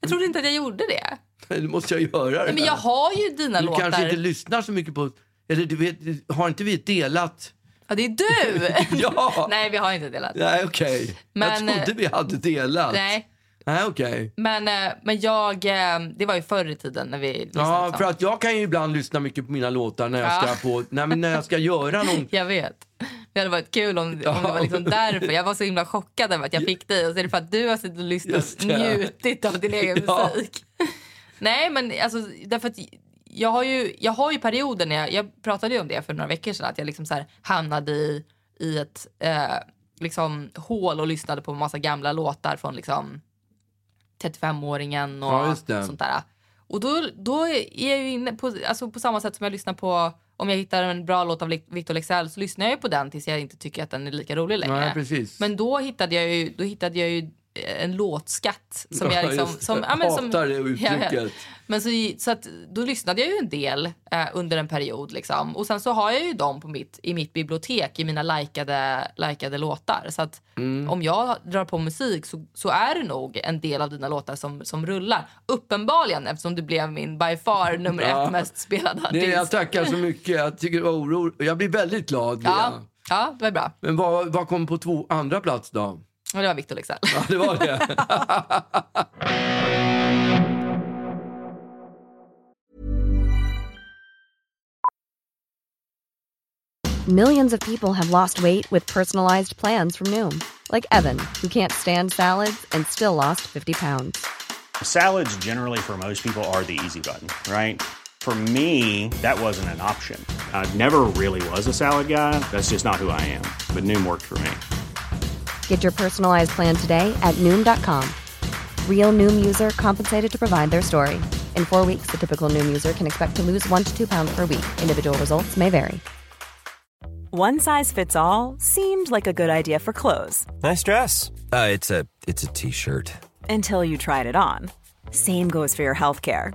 Speaker 2: Jag trodde inte att jag gjorde det.
Speaker 1: Nu måste jag göra det
Speaker 2: Nej, men
Speaker 1: här.
Speaker 2: jag har ju dina
Speaker 1: Du
Speaker 2: låtar.
Speaker 1: kanske inte lyssnar så mycket på... Eller du vet, har inte vi ett delat...
Speaker 2: ja, det är du!
Speaker 1: Ja!
Speaker 2: nej, vi har inte delat.
Speaker 1: Nej, okej.
Speaker 2: Men, eh,
Speaker 1: jag trodde vi hade delat.
Speaker 2: Nej,
Speaker 1: Nej, okej.
Speaker 2: men, eh, men jag, eh, det var ju förr i tiden när vi lyssnade liksom.
Speaker 1: Ja,
Speaker 2: tillsammans.
Speaker 1: för att jag kan ju ibland lyssna mycket på mina låtar när jag
Speaker 2: Ja.
Speaker 1: ska på... Nej, men när jag ska göra någon...
Speaker 2: Jag vet. Det hade varit kul om, om det var liksom därför. Jag var så himla chockad över att jag fick dig. Och så är det för att du har suttit och lyssnat
Speaker 1: Just
Speaker 2: och
Speaker 1: det.
Speaker 2: njutit av din egen
Speaker 1: Ja.
Speaker 2: musik. Nej, men alltså därför att jag har ju, jag har ju perioder när jag, jag pratade ju om det för några veckor sedan att jag liksom så här hamnade i, i ett eh, liksom hål och lyssnade på en massa gamla låtar från liksom 35-åringen och
Speaker 1: Ja, just det.
Speaker 2: sånt där. Och då, då är jag ju inne på, alltså på samma sätt som jag lyssnar på om jag hittar en bra låt av Li- Victor Leksell så lyssnar jag ju på den tills jag inte tycker att den är lika rolig längre.
Speaker 1: Nej, precis.
Speaker 2: Men då hittade jag ju, då hittade jag ju en låtskatt som
Speaker 1: Ja,
Speaker 2: jag liksom...
Speaker 1: just det.
Speaker 2: Som, men som-
Speaker 1: Hatar det uttrycket.
Speaker 2: Jag vet. Men så, i- så att, då lyssnade jag ju en del eh, under en period liksom. Och sen så har jag ju dem på mitt, i mitt bibliotek i mina likade, likade låtar. Så att
Speaker 1: Mm.
Speaker 2: om jag drar på musik så, så är det nog en del av dina låtar som, som rullar. Uppenbarligen eftersom du blev min by far nummer
Speaker 1: Ja.
Speaker 2: ett mest spelade artist.
Speaker 1: Nej, jag tackar så mycket. Jag tycker det var oro... Jag blir väldigt glad.
Speaker 2: ja.
Speaker 1: Lea.
Speaker 2: ja, det var bra.
Speaker 1: Men vad, vad kom på två andra plats då?
Speaker 2: Och det var Victor Leksell.
Speaker 1: Ja, det var det.
Speaker 6: Millions of people have lost weight with personalized plans from Noom, like Evan, who can't stand salads and still lost 50 pounds.
Speaker 7: Salads, generally, for most people, are the easy button, right? For me, that wasn't an option. I never really was a salad guy. That's just not who I am. But Noom worked for me.
Speaker 6: Get your personalized plan today at Noom.com. Real Noom user compensated to provide their story. In four weeks, the typical Noom user can expect to lose one to two pounds per week. Individual results may vary.
Speaker 8: One size fits all seemed like a good idea for clothes
Speaker 9: Nice dress. Uh, it's a it's a t-shirt.
Speaker 8: until you tried it on. Same goes for your healthcare.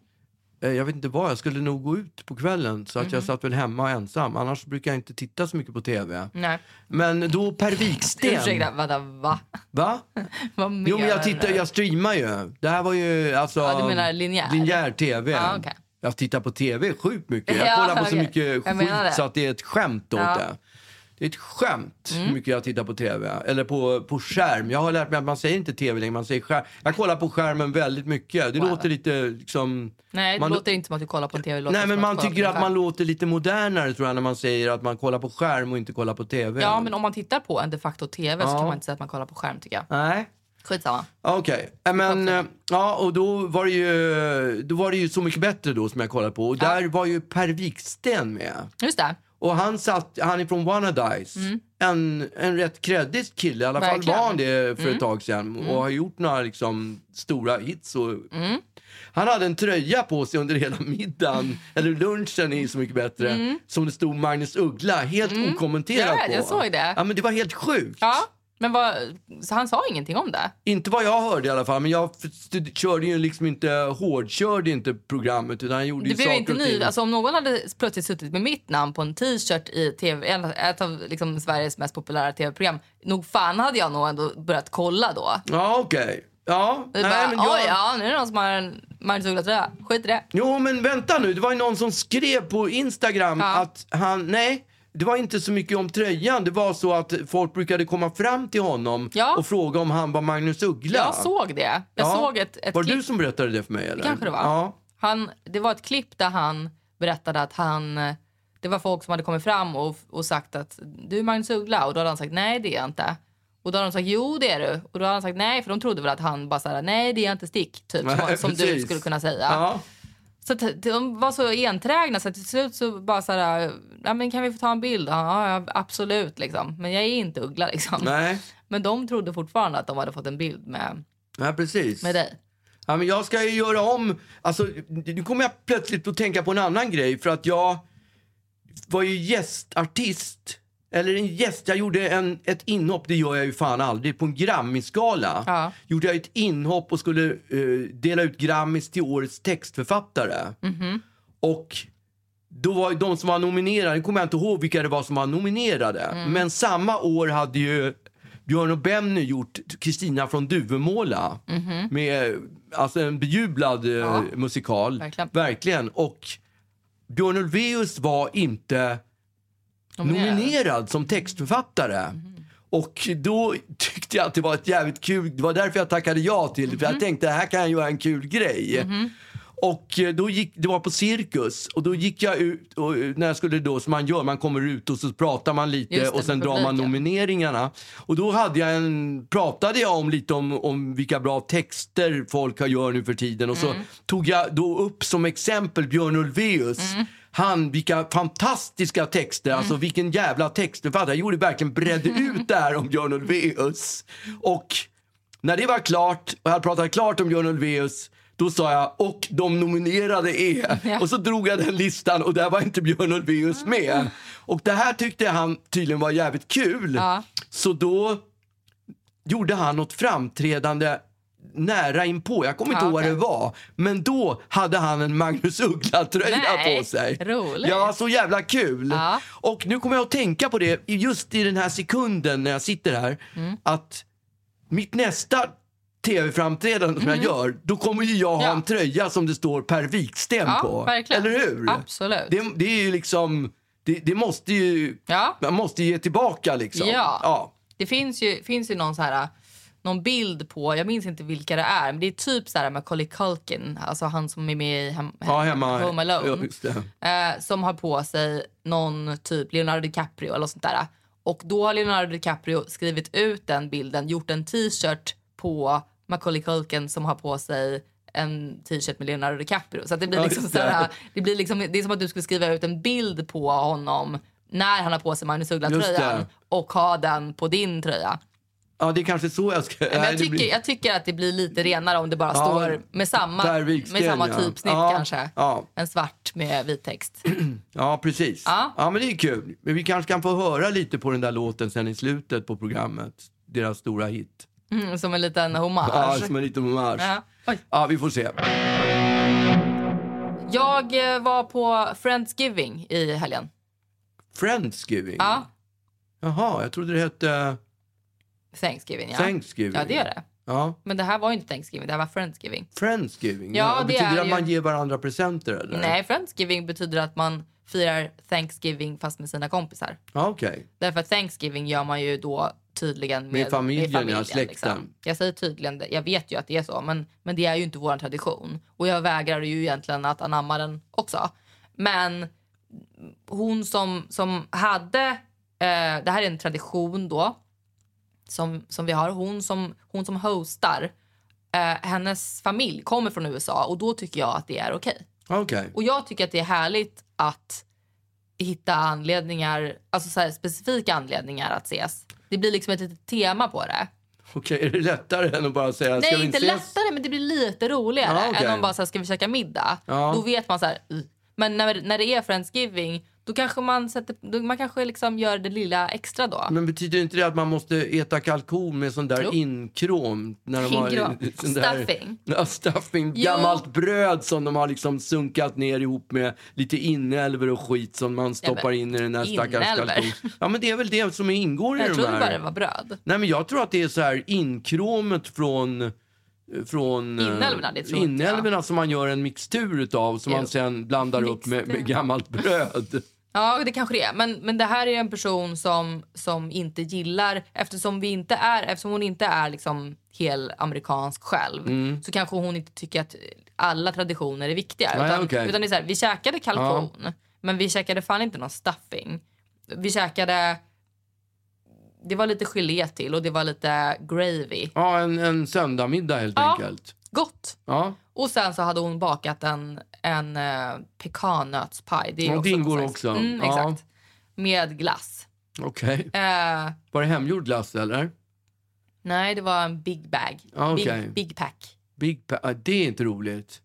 Speaker 1: Eh, Jag vet inte vad, jag skulle nog gå ut på kvällen så att
Speaker 2: Mhm.
Speaker 1: jag satt väl hemma ensam. Annars brukar jag inte titta så mycket på TV.
Speaker 2: Nej.
Speaker 1: Men då Per Wiksten.
Speaker 2: Mm. Ursäkta, vadå, va?
Speaker 1: Va?
Speaker 2: Vad menar
Speaker 1: Jo men jag tittar,
Speaker 2: du?
Speaker 1: jag streamar ju. Det här var ju alltså
Speaker 2: Ja, du menar linjär?
Speaker 1: linjär TV.
Speaker 2: Ja, okej.
Speaker 1: Jag tittar på TV sjukt mycket. Jag
Speaker 2: Ja,
Speaker 1: kollar på så
Speaker 2: okej.
Speaker 1: mycket
Speaker 2: Jag
Speaker 1: skit
Speaker 2: menar det.
Speaker 1: så att det är ett skämt åt
Speaker 2: Ja. Mm.
Speaker 1: det. Det är ett skämt hur mycket jag tittar på TV. Eller på, på skärm. Jag har lärt mig att man säger inte TV längre, man säger skärm. Jag kollar på skärmen väldigt mycket. Det låter lite liksom...
Speaker 2: Nej, det
Speaker 1: man-
Speaker 2: låter inte som att du kollar på en tv. det låter
Speaker 1: Nej
Speaker 2: som
Speaker 1: men man
Speaker 2: du kollar
Speaker 1: tycker
Speaker 2: på
Speaker 1: att
Speaker 2: en
Speaker 1: man
Speaker 2: skärm.
Speaker 1: låter lite modernare tror jag när man säger att man kollar på skärm och inte kollar på TV.
Speaker 2: Ja, men om man tittar på en de facto tv så kan man inte säga att man kollar på skärm tycker jag.
Speaker 1: Nej.
Speaker 2: Skitsamma.
Speaker 1: Okej, Eh, men eh, ja och då var det ju, då var det ju Så mycket bättre då som jag kollade på och där var ju Per Wiksten med.
Speaker 2: Just det.
Speaker 1: Och han satt, han är från Wannadies, en, en rätt kreddig kille, i alla
Speaker 2: Mm. Verkligen. Mm.
Speaker 1: fall var han det för ett tag sedan och har gjort några liksom stora hits och
Speaker 2: Mm.
Speaker 1: Han hade en tröja på sig under hela middagen, eller lunchen i Så mycket bättre, som det stod Magnus Uggla helt okommenterat
Speaker 2: Jag vet,
Speaker 1: på.
Speaker 2: Mm. jag såg det.
Speaker 1: Ja men det var helt sjukt.
Speaker 2: Ja, men vad, så han sa ingenting om det?
Speaker 1: Inte vad jag hörde i alla fall, men jag f- st- körde ju liksom inte, hårdkörde inte programmet utan jag gjorde
Speaker 2: Det
Speaker 1: ju
Speaker 2: blev
Speaker 1: saker
Speaker 2: inte
Speaker 1: och
Speaker 2: ny.
Speaker 1: ting.
Speaker 2: Alltså, om någon hade plötsligt suttit med mitt namn på en t-shirt i TV, en- ett av liksom, Sveriges mest populära tv-program, nog fan hade jag nog ändå börjat kolla då.
Speaker 1: Ja okej. Ja,
Speaker 2: Det är
Speaker 1: nej,
Speaker 2: bara,
Speaker 1: men
Speaker 2: Oj,
Speaker 1: jag...
Speaker 2: ja, nu är det någon som har en Magnus Uggla-tröja. Skit i det.
Speaker 1: Jo men vänta nu, det var ju någon som skrev på Instagram
Speaker 2: Ja.
Speaker 1: att han, nej. Det var inte så mycket om tröjan, det var så att folk brukade komma fram till honom
Speaker 2: Ja.
Speaker 1: och fråga om han var Magnus Uggla.
Speaker 2: Jag såg det. Jag
Speaker 1: Ja.
Speaker 2: såg ett, ett
Speaker 1: Var det
Speaker 2: klipp.
Speaker 1: du som berättade det för mig eller?
Speaker 2: Typ, kanske det var.
Speaker 1: Ja.
Speaker 2: Han, det var ett klipp där han berättade att han... Det var folk som hade kommit fram och, och sagt att du är Magnus Uggla. Och då hade han sagt nej, det är jag inte. Och då hade de sagt jo, det är du. Och då hade han sagt nej, för de trodde väl att han bara såhär nej, det är jag inte stick. Typ
Speaker 1: Nej,
Speaker 2: som, som du
Speaker 1: precis.
Speaker 2: skulle kunna säga.
Speaker 1: Ja.
Speaker 2: Så att de var så enträgna så att till slut så bara såhär, ja men kan vi få ta en bild? Ja, ja absolut liksom. Men jag är inte Uggla liksom.
Speaker 1: Nej.
Speaker 2: Men de trodde fortfarande att de hade fått en bild med,
Speaker 1: ja, precis.
Speaker 2: med dig.
Speaker 1: Ja, men jag ska ju göra om... Alltså, nu kommer jag plötsligt att tänka på en annan grej. För att jag var ju gästartist. Eller en gäst. Jag gjorde en, ett inhopp, det gör jag ju fan aldrig, på en Grammisgala.
Speaker 2: Ja.
Speaker 1: Gjorde jag ett inhopp och skulle eh, dela ut Grammis till årets textförfattare. Och då var ju de som var nominerade, nu kommer jag inte ihåg vilka det var som var nominerade. Men samma år hade ju Björn och Benny gjort Kristina från Duvemåla. Med alltså en bejublad eh, musikal.
Speaker 2: verkligen.
Speaker 1: verkligen. Och Björn Ulvaeus var inte
Speaker 2: Nominerad. Mm-hmm.
Speaker 1: nominerad som textförfattare. Och då tyckte jag att det var ett jävligt kul, det var därför jag tackade ja till det. För
Speaker 2: Mm-hmm.
Speaker 1: jag tänkte, här kan jag göra en kul grej. Och eh, då gick, det var på Cirkus och då gick jag ut, och eh, när jag skulle då, som man gör, man kommer ut och så pratar man lite
Speaker 2: Just det,
Speaker 1: och sen
Speaker 2: med
Speaker 1: drar man
Speaker 2: publiken.
Speaker 1: nomineringarna. Och då hade jag en, pratade jag om lite om, om vilka bra texter folk har gör nu för tiden och så tog jag då upp som exempel Björn Ulvaeus. Han, vilka fantastiska texter, alltså vilken jävla textförfattare. Jag gjorde verkligen bredde ut det här om Björn Ulvaeus. Och när det var klart och jag hade pratat klart om Björn Ulvaeus då sa jag och de nominerade är. Och så drog jag den listan och där var inte Björn Ulvaeus med. Och det här tyckte han tydligen var jävligt kul. Så då gjorde han något framträdande nära inpå. Jag kommer inte
Speaker 2: Ja,
Speaker 1: ihåg vad
Speaker 2: okej.
Speaker 1: det var. Men då hade han en Magnus Uggla-tröja
Speaker 2: Nej,
Speaker 1: på sig.
Speaker 2: roligt.
Speaker 1: Ja, så jävla kul.
Speaker 2: Ja.
Speaker 1: Och nu kommer jag att tänka på det just i den här sekunden när jag sitter här.
Speaker 2: Mm.
Speaker 1: Att mitt nästa tv-framträdande som jag gör, då kommer ju jag ha
Speaker 2: Mm. Ja.
Speaker 1: en tröja som det står Per Wiksten
Speaker 2: Ja,
Speaker 1: på.
Speaker 2: verkligen.
Speaker 1: Eller hur?
Speaker 2: Absolut.
Speaker 1: Det, det är ju liksom, det, det måste ju,
Speaker 2: Ja.
Speaker 1: man måste ju ge tillbaka liksom.
Speaker 2: Ja.
Speaker 1: ja.
Speaker 2: Det finns ju, finns ju någon, så här, någon bild på, jag minns inte vilka det är, men det är typ så här med Colly Culkin, alltså han som är med i hem,
Speaker 1: Ja, hemma.
Speaker 2: Home Alone,
Speaker 1: Ja, just det.
Speaker 2: eh, som har på sig någon typ Leonardo DiCaprio eller något sånt där. Och då har Leonardo DiCaprio skrivit ut den bilden, gjort en t-shirt på Macaulay Culkin som har på sig en t-shirt med Leonardo DiCaprio. Så att det blir
Speaker 1: Ja,
Speaker 2: liksom
Speaker 1: just det.
Speaker 2: såhär, det blir liksom, det är som att du skulle skriva ut en bild på honom när han har på sig Magnus
Speaker 1: Just
Speaker 2: Uggla-tröjan
Speaker 1: det.
Speaker 2: och ha den på din tröja.
Speaker 1: Ja, det är kanske så jag ska...
Speaker 2: Men
Speaker 1: Nej,
Speaker 2: jag,
Speaker 1: det
Speaker 2: tycker,
Speaker 1: blir-
Speaker 2: jag tycker att det blir lite renare om det bara
Speaker 1: Ja,
Speaker 2: står med samma,
Speaker 1: Per
Speaker 2: med
Speaker 1: Wiksten,
Speaker 2: samma
Speaker 1: ja.
Speaker 2: typsnitt
Speaker 1: ja,
Speaker 2: kanske.
Speaker 1: Ja,
Speaker 2: En svart med vit text.
Speaker 1: ja precis.
Speaker 2: Ja.
Speaker 1: men det är kul. Men vi kanske kan få höra lite på den där låten sen i slutet på programmet. Deras stora hit.
Speaker 2: Mm, som en liten hommage.
Speaker 1: Ja, som en liten hommage.
Speaker 2: Ja.
Speaker 1: Ja.
Speaker 2: Oj.
Speaker 1: vi får se.
Speaker 2: Jag eh, var på Friendsgiving i helgen.
Speaker 1: Friendsgiving?
Speaker 2: Ja,
Speaker 1: Jaha, jag trodde det hette
Speaker 2: Thanksgiving. Ja.
Speaker 1: Thanksgiving.
Speaker 2: ja, det gör det.
Speaker 1: Ja.
Speaker 2: Men det här var ju inte Thanksgiving, det här var Friendsgiving.
Speaker 1: Friendsgiving?
Speaker 2: Ja, det
Speaker 1: Betyder
Speaker 2: är
Speaker 1: det att
Speaker 2: ju-
Speaker 1: man ger varandra presenter eller?
Speaker 2: Nej, Friendsgiving betyder att man firar Thanksgiving fast med sina kompisar.
Speaker 1: Ja, okej.
Speaker 2: Därför att Thanksgiving gör man ju då tydligen med,
Speaker 1: Med familjen,
Speaker 2: med
Speaker 1: ja, släkten.
Speaker 2: liksom. Jag säger tydligen, det- jag vet ju att det är så, men, men det är ju inte vår tradition. Och jag vägrar ju egentligen att anamma den också. Men hon som, som hade, eh, det här är en tradition då, som, som vi har, hon som, hon som hostar, eh, hennes familj kommer från USA och då tycker jag att det är okej.
Speaker 1: Okej.
Speaker 2: Och jag tycker att det är härligt att hitta anledningar, alltså så här specifika anledningar att ses. Det blir liksom ett litet tema på det.
Speaker 1: Okej, är det lättare än att bara säga ska
Speaker 2: Nej,
Speaker 1: vi
Speaker 2: inte
Speaker 1: ses?
Speaker 2: lättare, men det blir lite roligare
Speaker 1: Ja, okej.
Speaker 2: än om bara så här, ska vi käka middag.
Speaker 1: Ja.
Speaker 2: Då vet man så här, "Ugh." men när, när det är Friendsgiving, då kanske man, sätter, då, man kanske liksom gör det lilla extra då.
Speaker 1: Men betyder inte det att man måste äta kalkon med sån där
Speaker 2: Jo.
Speaker 1: inkrom? När de
Speaker 2: Inkrom.
Speaker 1: Har, sån där,
Speaker 2: Stuffing.
Speaker 1: Ja, stuffing.
Speaker 2: Jo.
Speaker 1: Gammalt bröd som de har liksom sunkat ner ihop med lite inälvor och skit som man stoppar in i den där stackars
Speaker 2: inälvor.
Speaker 1: kalkon. Ja, men det är väl det som ingår i
Speaker 2: jag
Speaker 1: de
Speaker 2: trodde
Speaker 1: här.
Speaker 2: bara det var bröd.
Speaker 1: Nej, men jag tror att det är så här inkromet från från eh,
Speaker 2: Inälvorna, det tror inte jag.
Speaker 1: inälvorna som man gör en mixtur utav som
Speaker 2: Jo.
Speaker 1: man sen blandar upp med, med
Speaker 2: Mixtur.
Speaker 1: gammalt bröd.
Speaker 2: Ja, det kanske det är. Men, men det här är en person som, som inte gillar... Eftersom, vi inte är, eftersom hon inte är liksom hel amerikansk själv
Speaker 1: Mm.
Speaker 2: så kanske hon inte tycker att alla traditioner är viktiga.
Speaker 1: Nej,
Speaker 2: utan,
Speaker 1: okej.
Speaker 2: utan det är så här, vi käkade kalkon, men vi käkade fan inte någon stuffing. Vi käkade... Det var lite gelé till och det var lite gravy.
Speaker 1: Ja, en, en söndagmiddag helt
Speaker 2: Ja.
Speaker 1: enkelt.
Speaker 2: Gott!
Speaker 1: Ja,
Speaker 2: Och sen så hade hon bakat en, en eh, pekannötspaj. Det, är
Speaker 1: Ja, det
Speaker 2: också
Speaker 1: ingår
Speaker 2: någon slags-
Speaker 1: också.
Speaker 2: Mm,
Speaker 1: Ja.
Speaker 2: exakt. Med glass.
Speaker 1: okej.
Speaker 2: Eh,
Speaker 1: Var det hemgjord glass eller?
Speaker 2: Nej, det var en big bag.
Speaker 1: Ja, Ah, okej.
Speaker 2: Big, big pack.
Speaker 1: Big pa- ah, det är inte roligt.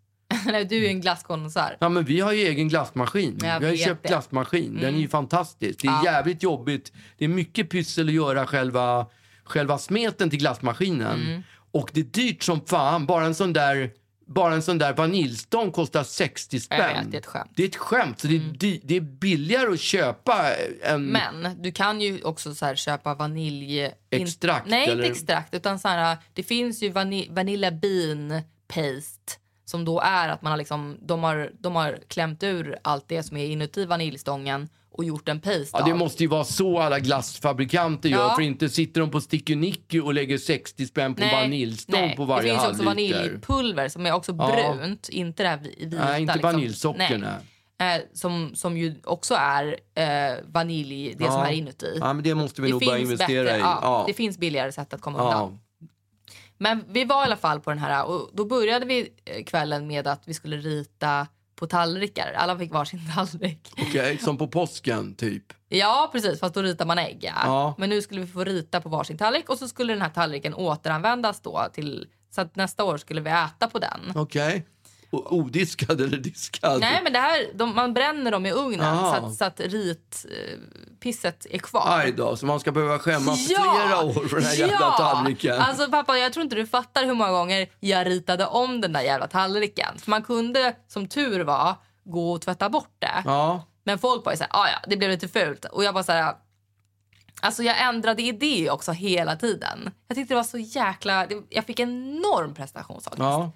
Speaker 2: Nej, du är ju en glasskonnässör.
Speaker 1: Ja, men vi har ju egen glassmaskin.
Speaker 2: Jag
Speaker 1: vi har ju
Speaker 2: vet
Speaker 1: köpt
Speaker 2: det. Mm.
Speaker 1: glassmaskin. Den är ju fantastisk. Det är jävligt jobbigt. Det är mycket pyssel att göra själva, själva smeten till glassmaskinen.
Speaker 2: Mm.
Speaker 1: Och det är dyrt som fan. Bara en sån där, bara en sån där vaniljstång kostar 60 spänn.
Speaker 2: Jag vet, det är ett skämt. Mm.
Speaker 1: Det är ett skämt. Så det, är dy- det är billigare att köpa en...
Speaker 2: Men du kan ju också så här köpa vanilj...
Speaker 1: Extrakt,
Speaker 2: In... Nej,
Speaker 1: eller?
Speaker 2: inte extrakt. Utan så här, det finns ju vani... vanilla bean paste som då är att man har liksom, de, har, de har klämt ur allt det som är inuti vaniljstången och gjort en paste
Speaker 1: Ja, det
Speaker 2: av.
Speaker 1: måste ju vara så alla glassfabrikanter gör.
Speaker 2: Ja.
Speaker 1: För inte sitter de på Sticky Nicky och lägger 60 spänn på vaniljstång
Speaker 2: nej.
Speaker 1: på varje
Speaker 2: Det finns ju också
Speaker 1: halvliter.
Speaker 2: vaniljpulver som är också
Speaker 1: Ja.
Speaker 2: brunt, inte det här vi- vita.
Speaker 1: Nej, inte
Speaker 2: liksom.
Speaker 1: vaniljsocker,
Speaker 2: Nej. Eh, som, som ju också är eh, vanilj, det som
Speaker 1: Ja.
Speaker 2: är inuti.
Speaker 1: Ja, men det måste vi nog börja investera i.
Speaker 2: ja,
Speaker 1: Ja.
Speaker 2: Det finns billigare sätt att komma
Speaker 1: ja.
Speaker 2: undan. Men vi var i alla fall på den här och då började vi eh, kvällen med att vi skulle rita på tallrikar. Alla fick varsin tallrik.
Speaker 1: Okej, som på påsken, typ.
Speaker 2: Ja, precis. Fast då ritar man ägg. Ja.
Speaker 1: Ja.
Speaker 2: Men nu skulle vi få rita på varsin tallrik och så skulle den här tallriken återanvändas då till så att nästa år skulle vi äta på den.
Speaker 1: Okej. O- Odiskad eller diskad?
Speaker 2: Nej, men det här, de, man bränner dem i ugnen
Speaker 1: Ah.
Speaker 2: så att, så att ritpisset är kvar.
Speaker 1: Aj då, så man ska behöva skämmas flera år för den här jävla tallriken.
Speaker 2: Alltså pappa, jag tror inte du fattar hur många gånger jag ritade om den där jävla tallriken. För man kunde, som tur var, gå och tvätta bort det.
Speaker 1: Ja,
Speaker 2: Men folk var ju såhär, "Ah, ja, det blev lite fult. Och jag bara såhär, alltså jag ändrade idé också hela tiden. Jag tyckte det var så jäkla, det, jag fick enorm prestationsångest.
Speaker 1: ja.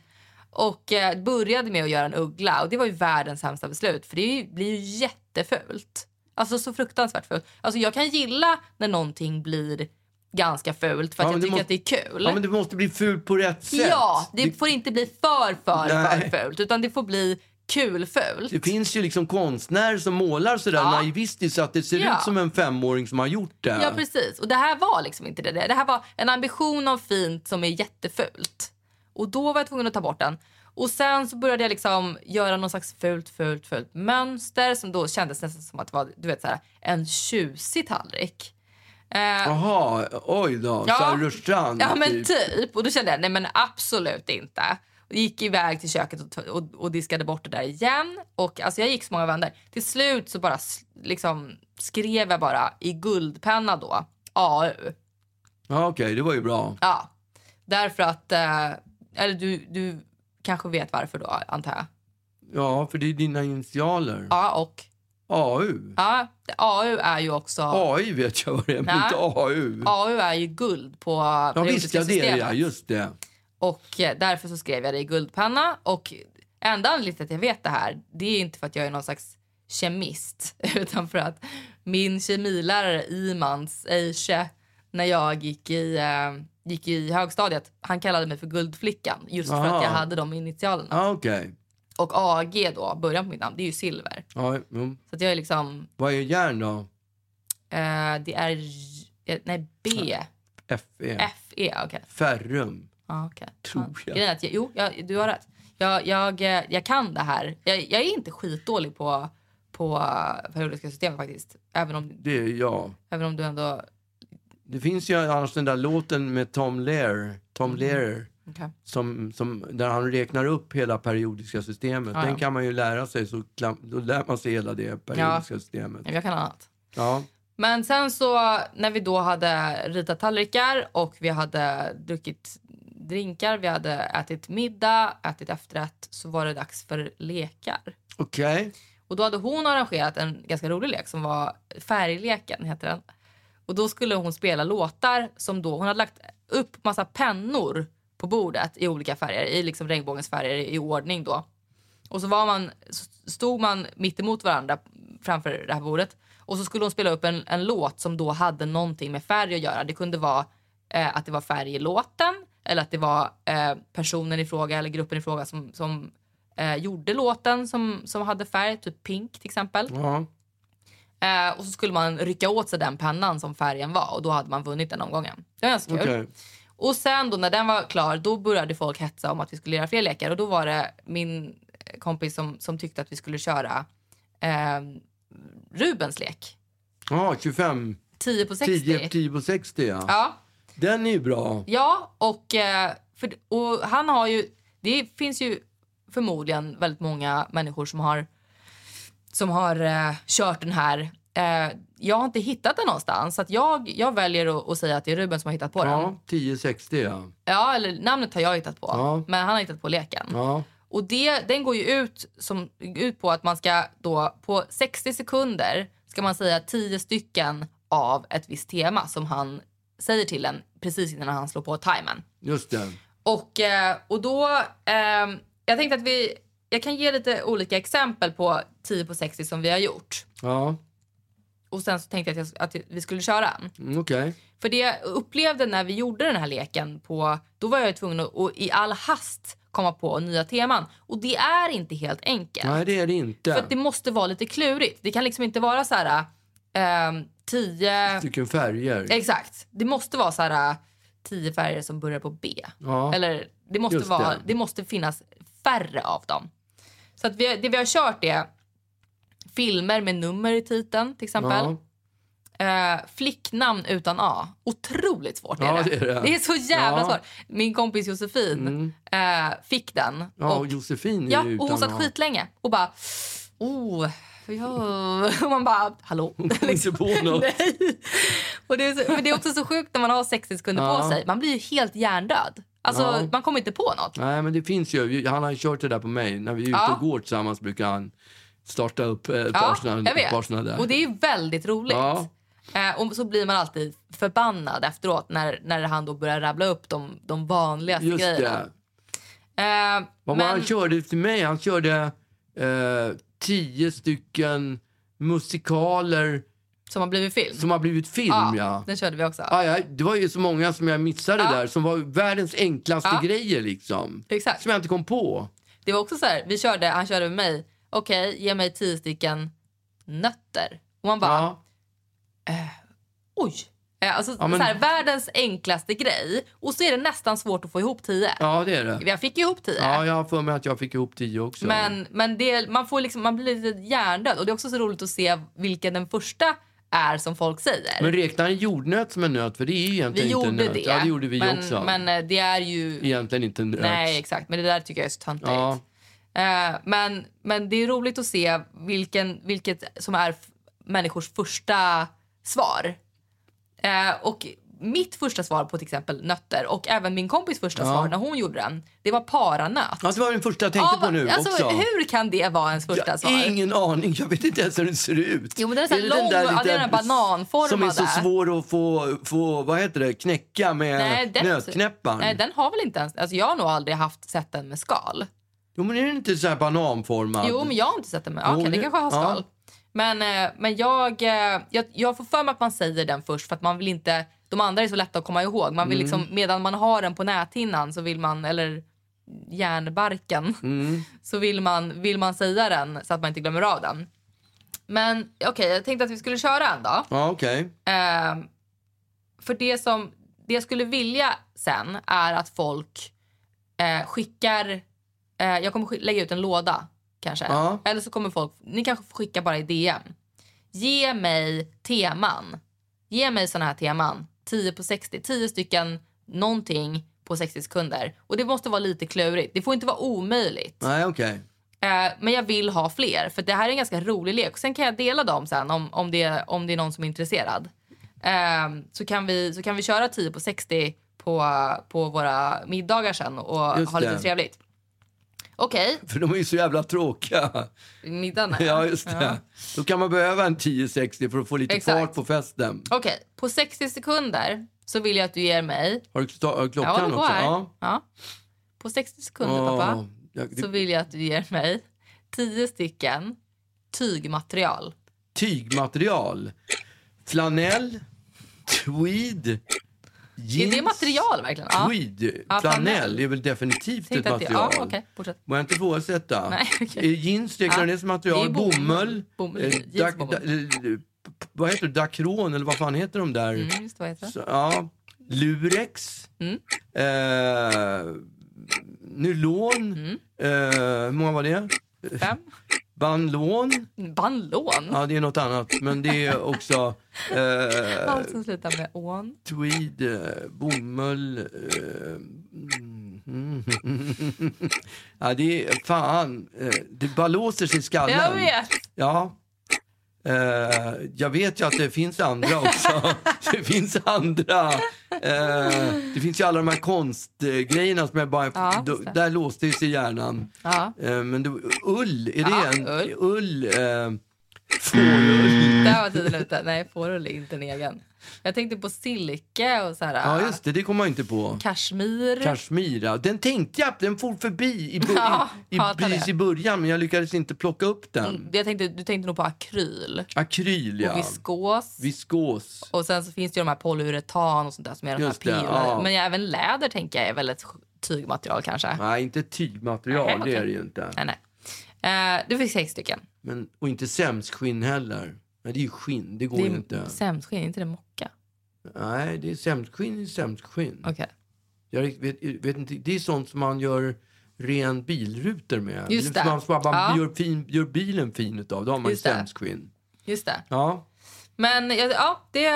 Speaker 2: Och eh, började med att göra en uggla och det var ju världens sämsta beslut för det är ju- blir ju jättefult. Alltså så fruktansvärt fult. Alltså jag kan gilla när någonting blir ganska fult för att
Speaker 1: Ja, men det
Speaker 2: jag tycker
Speaker 1: må-
Speaker 2: att det är kul.
Speaker 1: ja, men det måste bli fult på rätt sätt.
Speaker 2: Ja, det får inte bli för, för,
Speaker 1: Nej.
Speaker 2: för fult. Utan det får bli kul fult.
Speaker 1: Det finns ju liksom konstnärer som målar sådär
Speaker 2: Ja.
Speaker 1: naivistiskt så att det ser
Speaker 2: Ja.
Speaker 1: ut som en femåring som har gjort det.
Speaker 2: Ja, precis. Och det här var liksom inte det. Det här var en ambition om fint som är jättefult. Och då var jag tvungen att ta bort den. Och sen så började jag liksom göra någon slags fult, fult, fult mönster som då kändes nästan som att det var du vet, så här, en tjusig tallrik. Eh,
Speaker 1: Jaha, oj då.
Speaker 2: Ja.
Speaker 1: Ja. Rörstrand.
Speaker 2: ja, men
Speaker 1: typ.
Speaker 2: typ. Och då kände jag, nej men absolut inte. Och Gick iväg till köket och, t- och, och diskade bort det där igen. Och alltså, jag gick så många vändor. Till slut så bara s- liksom skrev jag bara i guldpenna då, AU.
Speaker 1: Ja, Okej, det var ju bra.
Speaker 2: Ja, därför att... eh, Eller du, du kanske vet varför då, antar jag?
Speaker 1: Ja, för det är dina initialer.
Speaker 2: Ja, och...
Speaker 1: AU.
Speaker 2: Ja, det- AU är ju också...
Speaker 1: AI vet jag vad det är, men
Speaker 2: Nej.
Speaker 1: inte AU.
Speaker 2: AU är ju guld på
Speaker 1: Ja, visst,
Speaker 2: periodiska
Speaker 1: ja, det är det, ja,
Speaker 2: systemet.
Speaker 1: just det.
Speaker 2: Och eh, därför så skrev jag det i guldpenna. Och enda anledningen till att jag vet det här, det är inte för att jag är någon slags kemist, utan för att min kemilärare Imans Eiche, när jag gick i, eh, gick i högstadiet, han kallade mig för guldflickan just för
Speaker 1: Aha.
Speaker 2: att jag hade de initialerna.
Speaker 1: Ja, okej.
Speaker 2: Och AG då, början på mitt namn, det är ju silver.
Speaker 1: Ja, mm.
Speaker 2: Så att jag är liksom,
Speaker 1: Vad är järn då?
Speaker 2: eh, det är, eh, nej B,
Speaker 1: FE.
Speaker 2: FE, okej.
Speaker 1: E. Ferrum.
Speaker 2: Ja, okej.
Speaker 1: Tror jag.
Speaker 2: Grejen är att jag, jo, jag, du har rätt. Jag, jag, eh, jag kan det här. Jag, jag är inte skitdålig på, på eh, periodiska system faktiskt. Även om,
Speaker 1: Det är jag.
Speaker 2: även om du ändå,
Speaker 1: Det finns ju annars den där låten med Tom Lear, Tom
Speaker 2: Mm.
Speaker 1: Lear
Speaker 2: Okej.
Speaker 1: som, som, där han räknar upp hela periodiska systemet.
Speaker 2: ja.
Speaker 1: Den kan man ju lära sig, så klam, då lär man sig hela det periodiska systemet.
Speaker 2: jag kan annat.
Speaker 1: Ja.
Speaker 2: Men sen så när vi då hade ritat tallrikar och vi hade druckit drinkar, vi hade ätit middag, ätit efterrätt, så var det dags för lekar.
Speaker 1: Okej.
Speaker 2: Och då hade hon arrangerat en ganska rolig lek som var Färgleken heter den. Och då skulle hon spela låtar som då, hon hade lagt upp massa pennor på bordet i olika färger, i liksom regnbågens färger i ordning då. Och så var man, så stod man mitt emot varandra framför det här bordet och så skulle hon spela upp en, en låt som då hade någonting med färg att göra. Det kunde vara eh, att det var färg i låten eller att det var eh, personen i fråga eller gruppen i fråga som, som eh, gjorde låten som, som hade färg, typ pink till exempel.
Speaker 1: Ja.
Speaker 2: Eh, och så skulle man rycka åt sig den pennan som färgen var och då hade man vunnit den omgången. Det var ganska kul.
Speaker 1: Okej.
Speaker 2: Och sen då när den var klar då började folk hetsa om att vi skulle göra fler lekar och då var det min eh, kompis som, som tyckte att vi skulle köra eh, Rubens lek.
Speaker 1: Ja, 25.
Speaker 2: 10 på 60.
Speaker 1: 10, 10 på 60 ja.
Speaker 2: Ja.
Speaker 1: Den är ju bra.
Speaker 2: Ja, och, eh, för, och han har ju... Det finns ju förmodligen väldigt många människor som har, som har eh, kört den här. Eh, jag har inte hittat den någonstans, så att jag, jag väljer att, att säga att det är Ruben som har hittat på den.
Speaker 1: Ja, 1060 ja.
Speaker 2: Ja, eller namnet har jag hittat på,
Speaker 1: Ja.
Speaker 2: men han har hittat på leken.
Speaker 1: Ja,
Speaker 2: Och det, den går ju ut, som, ut på att man ska då på 60 sekunder ska man säga 10 stycken av ett visst tema som han säger till en precis innan han slår på timern.
Speaker 1: just det.
Speaker 2: Och, eh, och då... ehm, jag tänkte att vi... Jag kan ge lite olika exempel på 10 på 60 som vi har gjort.
Speaker 1: Ja,
Speaker 2: Och sen så tänkte jag att, jag, att vi skulle köra en.
Speaker 1: mm, okej.
Speaker 2: För det jag upplevde när vi gjorde den här leken på... Då var jag ju tvungen att och i all hast komma på nya teman. Och det är inte helt enkelt.
Speaker 1: Nej, det är det inte.
Speaker 2: För att det måste vara lite klurigt. Det kan liksom inte vara så här... ehm, 10...
Speaker 1: Stycken färger.
Speaker 2: Exakt. Det måste vara så här... 10 färger som börjar på B.
Speaker 1: Ja.
Speaker 2: Eller det måste,
Speaker 1: Just
Speaker 2: vara,
Speaker 1: det.
Speaker 2: det måste finnas färre av dem. Så att vi, det vi har kört är filmer med nummer i titeln till exempel.
Speaker 1: ja.
Speaker 2: Eh, flicknamn utan A. Otroligt svårt
Speaker 1: Ja,
Speaker 2: är, det.
Speaker 1: det är det.
Speaker 2: är så jävla
Speaker 1: Ja. Mm.
Speaker 2: svårt. Min kompis Josefin eh, fick den.
Speaker 1: ja,
Speaker 2: och,
Speaker 1: och Josefin är
Speaker 2: ja,
Speaker 1: ju
Speaker 2: och hon
Speaker 1: utan
Speaker 2: satt
Speaker 1: A.
Speaker 2: skitlänge och bara... Oh, ja. Och man bara, hallå? Liksom.
Speaker 1: Kom inte på något.
Speaker 2: Nej. Och det, är så, men det är också så sjukt när man har 60 sekunder på
Speaker 1: Ja.
Speaker 2: sig. Man blir ju helt hjärndöd. Alltså,
Speaker 1: Ja.
Speaker 2: Man kommer inte på något.
Speaker 1: Nej, men det finns ju. Han har ju kört det där på mig. När vi är ute
Speaker 2: Ja.
Speaker 1: och går tillsammans brukar han starta upp eh, ett
Speaker 2: Ja,
Speaker 1: par såna-
Speaker 2: jag
Speaker 1: ett par såna där.
Speaker 2: vet. Och det är ju väldigt roligt.
Speaker 1: Ja.
Speaker 2: Eh, och så blir man alltid förbannad efteråt när, när han då börjar rabbla upp de, de vanligaste
Speaker 1: Just
Speaker 2: grejerna.
Speaker 1: det.
Speaker 2: Eh,
Speaker 1: Vad var han
Speaker 2: men,
Speaker 1: körde till mig? Han körde eh, tio stycken musikaler
Speaker 2: som har blivit film.
Speaker 1: som har blivit film,
Speaker 2: ja,
Speaker 1: ja.
Speaker 2: Den körde vi också.
Speaker 1: Aj, aj, det var ju så många som jag missade
Speaker 2: Ja.
Speaker 1: där som var världens enklaste
Speaker 2: Ja.
Speaker 1: grejer liksom.
Speaker 2: Exakt.
Speaker 1: Som jag inte kom på.
Speaker 2: Det var också så här, vi körde, han körde med mig. Okej, ge mig tio stycken nötter. Och man bara,
Speaker 1: Ja.
Speaker 2: oj. Eh, Alltså,
Speaker 1: men-
Speaker 2: så här, världens enklaste grej. Och så är det nästan svårt att få ihop tio.
Speaker 1: ja, det är det.
Speaker 2: Jag fick ihop tio.
Speaker 1: Ja, jag har för mig att jag fick ihop tio också.
Speaker 2: Men, men det, man, får liksom, man blir lite hjärndöd. Och det är också så roligt att se vilken den första är som folk säger.
Speaker 1: Men räknar en jordnöt som en nöt? För det är ju egentligen inte
Speaker 2: vi
Speaker 1: en
Speaker 2: gjorde
Speaker 1: nöt.
Speaker 2: det.
Speaker 1: Ja, det gjorde vi
Speaker 2: men,
Speaker 1: också.
Speaker 2: Men eh, det är ju...
Speaker 1: Egentligen inte en nöt.
Speaker 2: Nej, exakt. Men det där tycker jag är så töntigt.
Speaker 1: Ja.
Speaker 2: Eh, men, men det är roligt att se vilken, vilket som är f- människors första svar. Eh, och mitt första svar på till exempel nötter och även min kompis första svar när hon gjorde den, det var paranöt.
Speaker 1: Ja, det var den första jag tänkte
Speaker 2: Ja,
Speaker 1: på nu
Speaker 2: alltså,
Speaker 1: också.
Speaker 2: Hur kan det vara ens första
Speaker 1: Jag
Speaker 2: svar?
Speaker 1: har ingen aning. Jag vet inte ens hur den ser ut.
Speaker 2: Jo, men den är så här lång, ja, det är den här bananformade.
Speaker 1: Som är så svår att få, få vad heter det, knäcka med
Speaker 2: den-
Speaker 1: nötknäpparen.
Speaker 2: Nej, den har väl inte ens... Alltså jag har nog aldrig haft, sett den med skal.
Speaker 1: Jo, men är den inte så här bananformad?
Speaker 2: Jo, men jag har inte sett den med... Okej,
Speaker 1: Jo,
Speaker 2: det
Speaker 1: det-
Speaker 2: kanske har skal.
Speaker 1: ja.
Speaker 2: Men, eh, men jag, eh, jag, jag får för mig att man säger den först för att man vill inte... De andra är så lätta att komma ihåg. Man vill
Speaker 1: Mm.
Speaker 2: liksom, medan man har den på näthinnan så vill man... Eller järnbarken.
Speaker 1: Mm.
Speaker 2: Så vill man, vill man säga den så att man inte glömmer av den. Men okej, jag tänkte att vi skulle köra en dag.
Speaker 1: Ja, okej.
Speaker 2: Ehm, för det som det jag skulle vilja sen är att folk eh, skickar... Eh, jag kommer skick- lägga ut en låda kanske.
Speaker 1: Ja.
Speaker 2: Eller så kommer folk... Ni kanske får skicka bara i DM. Ge mig teman. Ge mig såna här teman. 10 på 60. 10 stycken någonting på 60 sekunder. Och det måste vara lite klurigt. Det får inte vara omöjligt.
Speaker 1: Nej, okej.
Speaker 2: Eh, men jag vill ha fler, för det här är en ganska rolig lek. Sen kan jag dela dem sen om, om, det, om det är någon som är intresserad. Eh, så, kan vi, så kan vi köra 10 på 60 på, på våra middagar sen och
Speaker 1: Just
Speaker 2: ha lite
Speaker 1: det.
Speaker 2: trevligt. Okej,
Speaker 1: För de är ju så jävla tråkiga.
Speaker 2: middagen är-
Speaker 1: Ja, just det. Då kan man behöva en 10-60 för att få lite
Speaker 2: Exakt.
Speaker 1: fart på festen.
Speaker 2: Okej, på 60 sekunder så vill jag att du ger mig...
Speaker 1: Har du sta- har du
Speaker 2: Ja,
Speaker 1: klockan
Speaker 2: det går
Speaker 1: också?
Speaker 2: här. Ja. På 60 sekunder,
Speaker 1: Ja,
Speaker 2: pappa,
Speaker 1: jag-
Speaker 2: så
Speaker 1: det-
Speaker 2: vill jag att du ger mig 10 stycken tygmaterial.
Speaker 1: Tygmaterial. Flanell, tweed, jeans.
Speaker 2: Är det material verkligen? Ja.
Speaker 1: Tweed,
Speaker 2: Ja,
Speaker 1: flanell
Speaker 2: flanell.
Speaker 1: är väl definitivt ett
Speaker 2: Tänkte att det- ja,
Speaker 1: Typ material.
Speaker 2: okej, fortsätt.
Speaker 1: Må jag inte ifrågasätta?
Speaker 2: Nej, okej.
Speaker 1: Eh, Jeans räknar
Speaker 2: Ja.
Speaker 1: det som
Speaker 2: Det
Speaker 1: material.
Speaker 2: är bomull.
Speaker 1: bomull.
Speaker 2: Bomull.
Speaker 1: eh,
Speaker 2: Jeans och
Speaker 1: dak-
Speaker 2: bomull.
Speaker 1: da- eh, p- vad heter det? Dacron eller vad fan heter de där?
Speaker 2: Mm, just det, vad heter det?
Speaker 1: Så, ja. Lurex.
Speaker 2: Mm.
Speaker 1: Eh, nylon.
Speaker 2: Mm.
Speaker 1: Eh, hur många var det?
Speaker 2: Fem?
Speaker 1: Banlon.
Speaker 2: Bandlån?
Speaker 1: Ja, det är något annat. Men det är också eh,
Speaker 2: Allt som slutar med ån.
Speaker 1: tweed, eh, bomull. Eh, mm, mm. ja, det är fan. Eh, det bara låser sig i skallen.
Speaker 2: Jag vet!
Speaker 1: Ja. Eh, jag vet ju att det finns andra också. det finns andra. Eh, det finns ju alla de här konstgrejerna som jag bara...
Speaker 2: Ja,
Speaker 1: då,
Speaker 2: just det.
Speaker 1: där låste ju sig hjärnan.
Speaker 2: Ja.
Speaker 1: Eh, men det, ull, är det
Speaker 2: Ja,
Speaker 1: en...
Speaker 2: ull.
Speaker 1: ull eh, fårull.
Speaker 2: Där var tiden ute. Nej, fårull är inte en egen. Jag tänkte på silke och så här. ah,
Speaker 1: Ja, just det. Det kommer man inte på.
Speaker 2: Kashmir.
Speaker 1: Kashmira. Den tänkte jag, den for förbi i, bur-
Speaker 2: Ja,
Speaker 1: i, i,
Speaker 2: hatar
Speaker 1: precis
Speaker 2: det.
Speaker 1: i början men jag lyckades inte plocka upp den.
Speaker 2: jag tänkte, du tänkte nog på akryl.
Speaker 1: Akryl,
Speaker 2: Och
Speaker 1: ja.
Speaker 2: viskos.
Speaker 1: Viskos.
Speaker 2: Och sen så finns det ju de här polyuretan och sånt där som är de här
Speaker 1: Just det,
Speaker 2: piller.
Speaker 1: ja.
Speaker 2: Men jag, även läder tänker jag är väl ett tygmaterial kanske.
Speaker 1: Nej, inte tygmaterial,
Speaker 2: Nej, okej.
Speaker 1: det är det ju inte.
Speaker 2: Nej, nej. Eh, du fick sex stycken.
Speaker 1: Men, och inte sämskskinn heller. Nej, det är ju skinn, det går
Speaker 2: Det
Speaker 1: ju
Speaker 2: är
Speaker 1: inte.
Speaker 2: sämskskinn, inte det mocka?
Speaker 1: Nej, det är sämskskinn, är sämskskinn.
Speaker 2: Okej.
Speaker 1: Jag vet, vet inte, det är sånt som man gör ren bilrutor med.
Speaker 2: Just
Speaker 1: det. är liksom
Speaker 2: det.
Speaker 1: Som man, man
Speaker 2: Ja.
Speaker 1: gör, fin, gör bilen fin utav, då har man ju
Speaker 2: Just det.
Speaker 1: sämskskinn.
Speaker 2: Just det.
Speaker 1: Ja,
Speaker 2: Men jag- ja, det,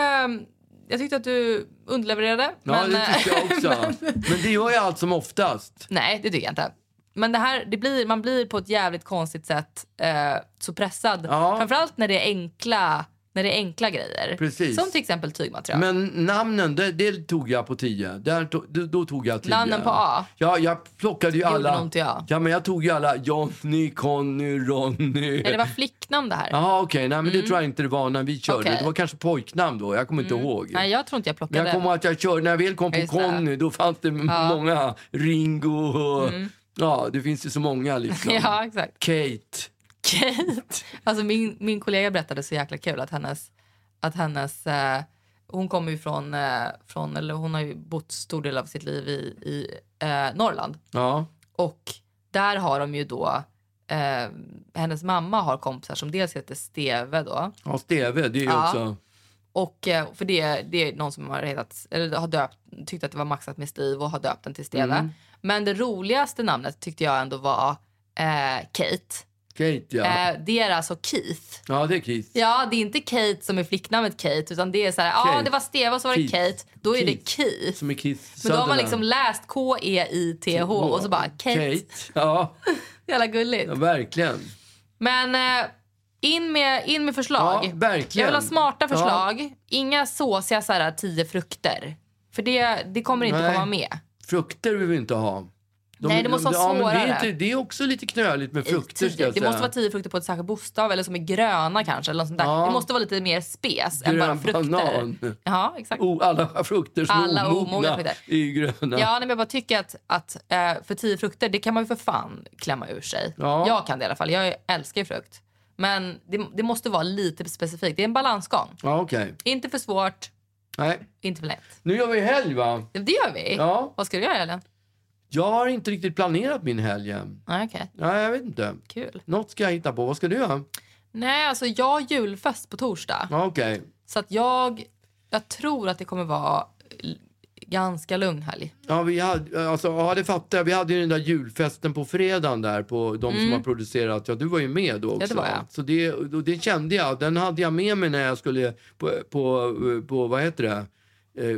Speaker 2: jag tyckte att du underlevererade.
Speaker 1: ja
Speaker 2: men, eh,
Speaker 1: det tycker jag också. men, det gör jag allt som oftast.
Speaker 2: nej, det tycker jag inte. Men det här, det blir, man blir på ett jävligt konstigt sätt eh, så pressad.
Speaker 1: Ja.
Speaker 2: Framförallt när det är enkla, när det är enkla grejer.
Speaker 1: Precis.
Speaker 2: Som till exempel tygmaterial.
Speaker 1: Men namnen, det, det tog jag på 10. Där to, då, då tog jag 10.
Speaker 2: Namnen på A?
Speaker 1: Ja, jag plockade ju alla.
Speaker 2: någon till A.
Speaker 1: Ja, men jag tog ju alla Johnny, Conny, Ronny.
Speaker 2: Nej, det var flicknamn det här.
Speaker 1: Jaha, okej. Nej, men det tror jag inte det var när vi körde.
Speaker 2: Mm. Okej. Mm.
Speaker 1: Det var kanske pojknamn då. Jag kommer inte ihåg.
Speaker 2: Nej, jag tror inte jag
Speaker 1: men
Speaker 2: plockade.
Speaker 1: jag kommer ihåg att jag körde, när jag väl kom på
Speaker 2: Just det.
Speaker 1: Conny, då fanns det m-
Speaker 2: Ja. Mm.
Speaker 1: många. Ringo och... Ja, det finns ju så många liksom.
Speaker 2: Ja, exakt.
Speaker 1: Kate.
Speaker 2: Kate. Alltså min, min kollega berättade så jäkla kul att hennes... Att hennes eh, hon kommer ju från, eh, från... Eller hon har ju bott stor del av sitt liv i, i eh, Norrland.
Speaker 1: Ja.
Speaker 2: Och Där har de ju då, eh, hennes mamma har kompisar som dels heter Steve då.
Speaker 1: Ja, Steve, det är ju
Speaker 2: Ja.
Speaker 1: också...
Speaker 2: Och eh, för det, det är någon som har, hetat, eller har döpt, tyckt att det var maxat med Steve och har döpt den till Steve. Men det roligaste namnet tyckte jag ändå var eh, Kate.
Speaker 1: Kate, ja.
Speaker 2: Eh, det är alltså Keith.
Speaker 1: Ja, det är Keith.
Speaker 2: Ja, det är inte Kate som är flicknamnet Kate utan det är så här, ja
Speaker 1: Kate.
Speaker 2: ah, det var Steve och så var det
Speaker 1: Keith.
Speaker 2: Kate. Då är det
Speaker 1: Keith.
Speaker 2: Keith.
Speaker 1: Som är Keith
Speaker 2: Men då har man
Speaker 1: Sutherland.
Speaker 2: liksom läst K-E-I-T-H och så bara Kate.
Speaker 1: Ja,
Speaker 2: Jävla gulligt.
Speaker 1: ja, verkligen.
Speaker 2: Men eh, in, med, in med förslag.
Speaker 1: Ja, verkligen.
Speaker 2: Jag vill ha smarta
Speaker 1: Ja.
Speaker 2: förslag. Inga såsiga så här, tio frukter. För det, det kommer inte
Speaker 1: Nej.
Speaker 2: komma med.
Speaker 1: Frukter vill vi inte ha. De-
Speaker 2: Nej, det måste vara
Speaker 1: men det, är
Speaker 2: svårare.
Speaker 1: inte, det är också lite knöligt med frukter. ska
Speaker 2: Tio.
Speaker 1: jag
Speaker 2: Det
Speaker 1: säga.
Speaker 2: måste vara typ tio frukter på ett särskilt bokstav eller som är gröna kanske. Eller något sånt där.
Speaker 1: Ja.
Speaker 2: Det måste vara lite mer spes än bara
Speaker 1: Grön
Speaker 2: frukter.
Speaker 1: banan.
Speaker 2: Ja, exakt.
Speaker 1: O- alla frukter som
Speaker 2: Alla
Speaker 1: är omogna,
Speaker 2: omogna frukter.
Speaker 1: är ju gröna.
Speaker 2: Ja, nej, men jag bara tycker att, att eh, för tio frukter, det kan man ju för fan klämma ur sig.
Speaker 1: Ja.
Speaker 2: Jag kan det i alla fall. Jag älskar ju frukt. Men det, det måste vara lite specifikt. Det är en balansgång.
Speaker 1: Ja, okej.
Speaker 2: Inte för svårt,
Speaker 1: Nej.
Speaker 2: inte för lätt.
Speaker 1: Nu gör vi helg, va?
Speaker 2: Det gör vi.
Speaker 1: Ja.
Speaker 2: Vad ska du göra Ellen?
Speaker 1: Jag har inte riktigt planerat min helg än.
Speaker 2: Nej, okej.
Speaker 1: Nej, jag vet inte.
Speaker 2: Kul.
Speaker 1: Något ska jag hitta på. Vad ska du göra?
Speaker 2: Nej, alltså jag har julfest på torsdag.
Speaker 1: Ja, okej.
Speaker 2: Så att jag, jag tror att det kommer vara l- ganska lugn helg.
Speaker 1: Ja, vi hade, alltså, ja, det fattar jag. Vi hade ju den där julfesten på fredagen där på de som har producerat. Ja, du var ju med då också.
Speaker 2: Mm. det var jag.
Speaker 1: Så det, och det kände jag. Den hade jag med mig när jag skulle på, på, på vad heter det? Eh,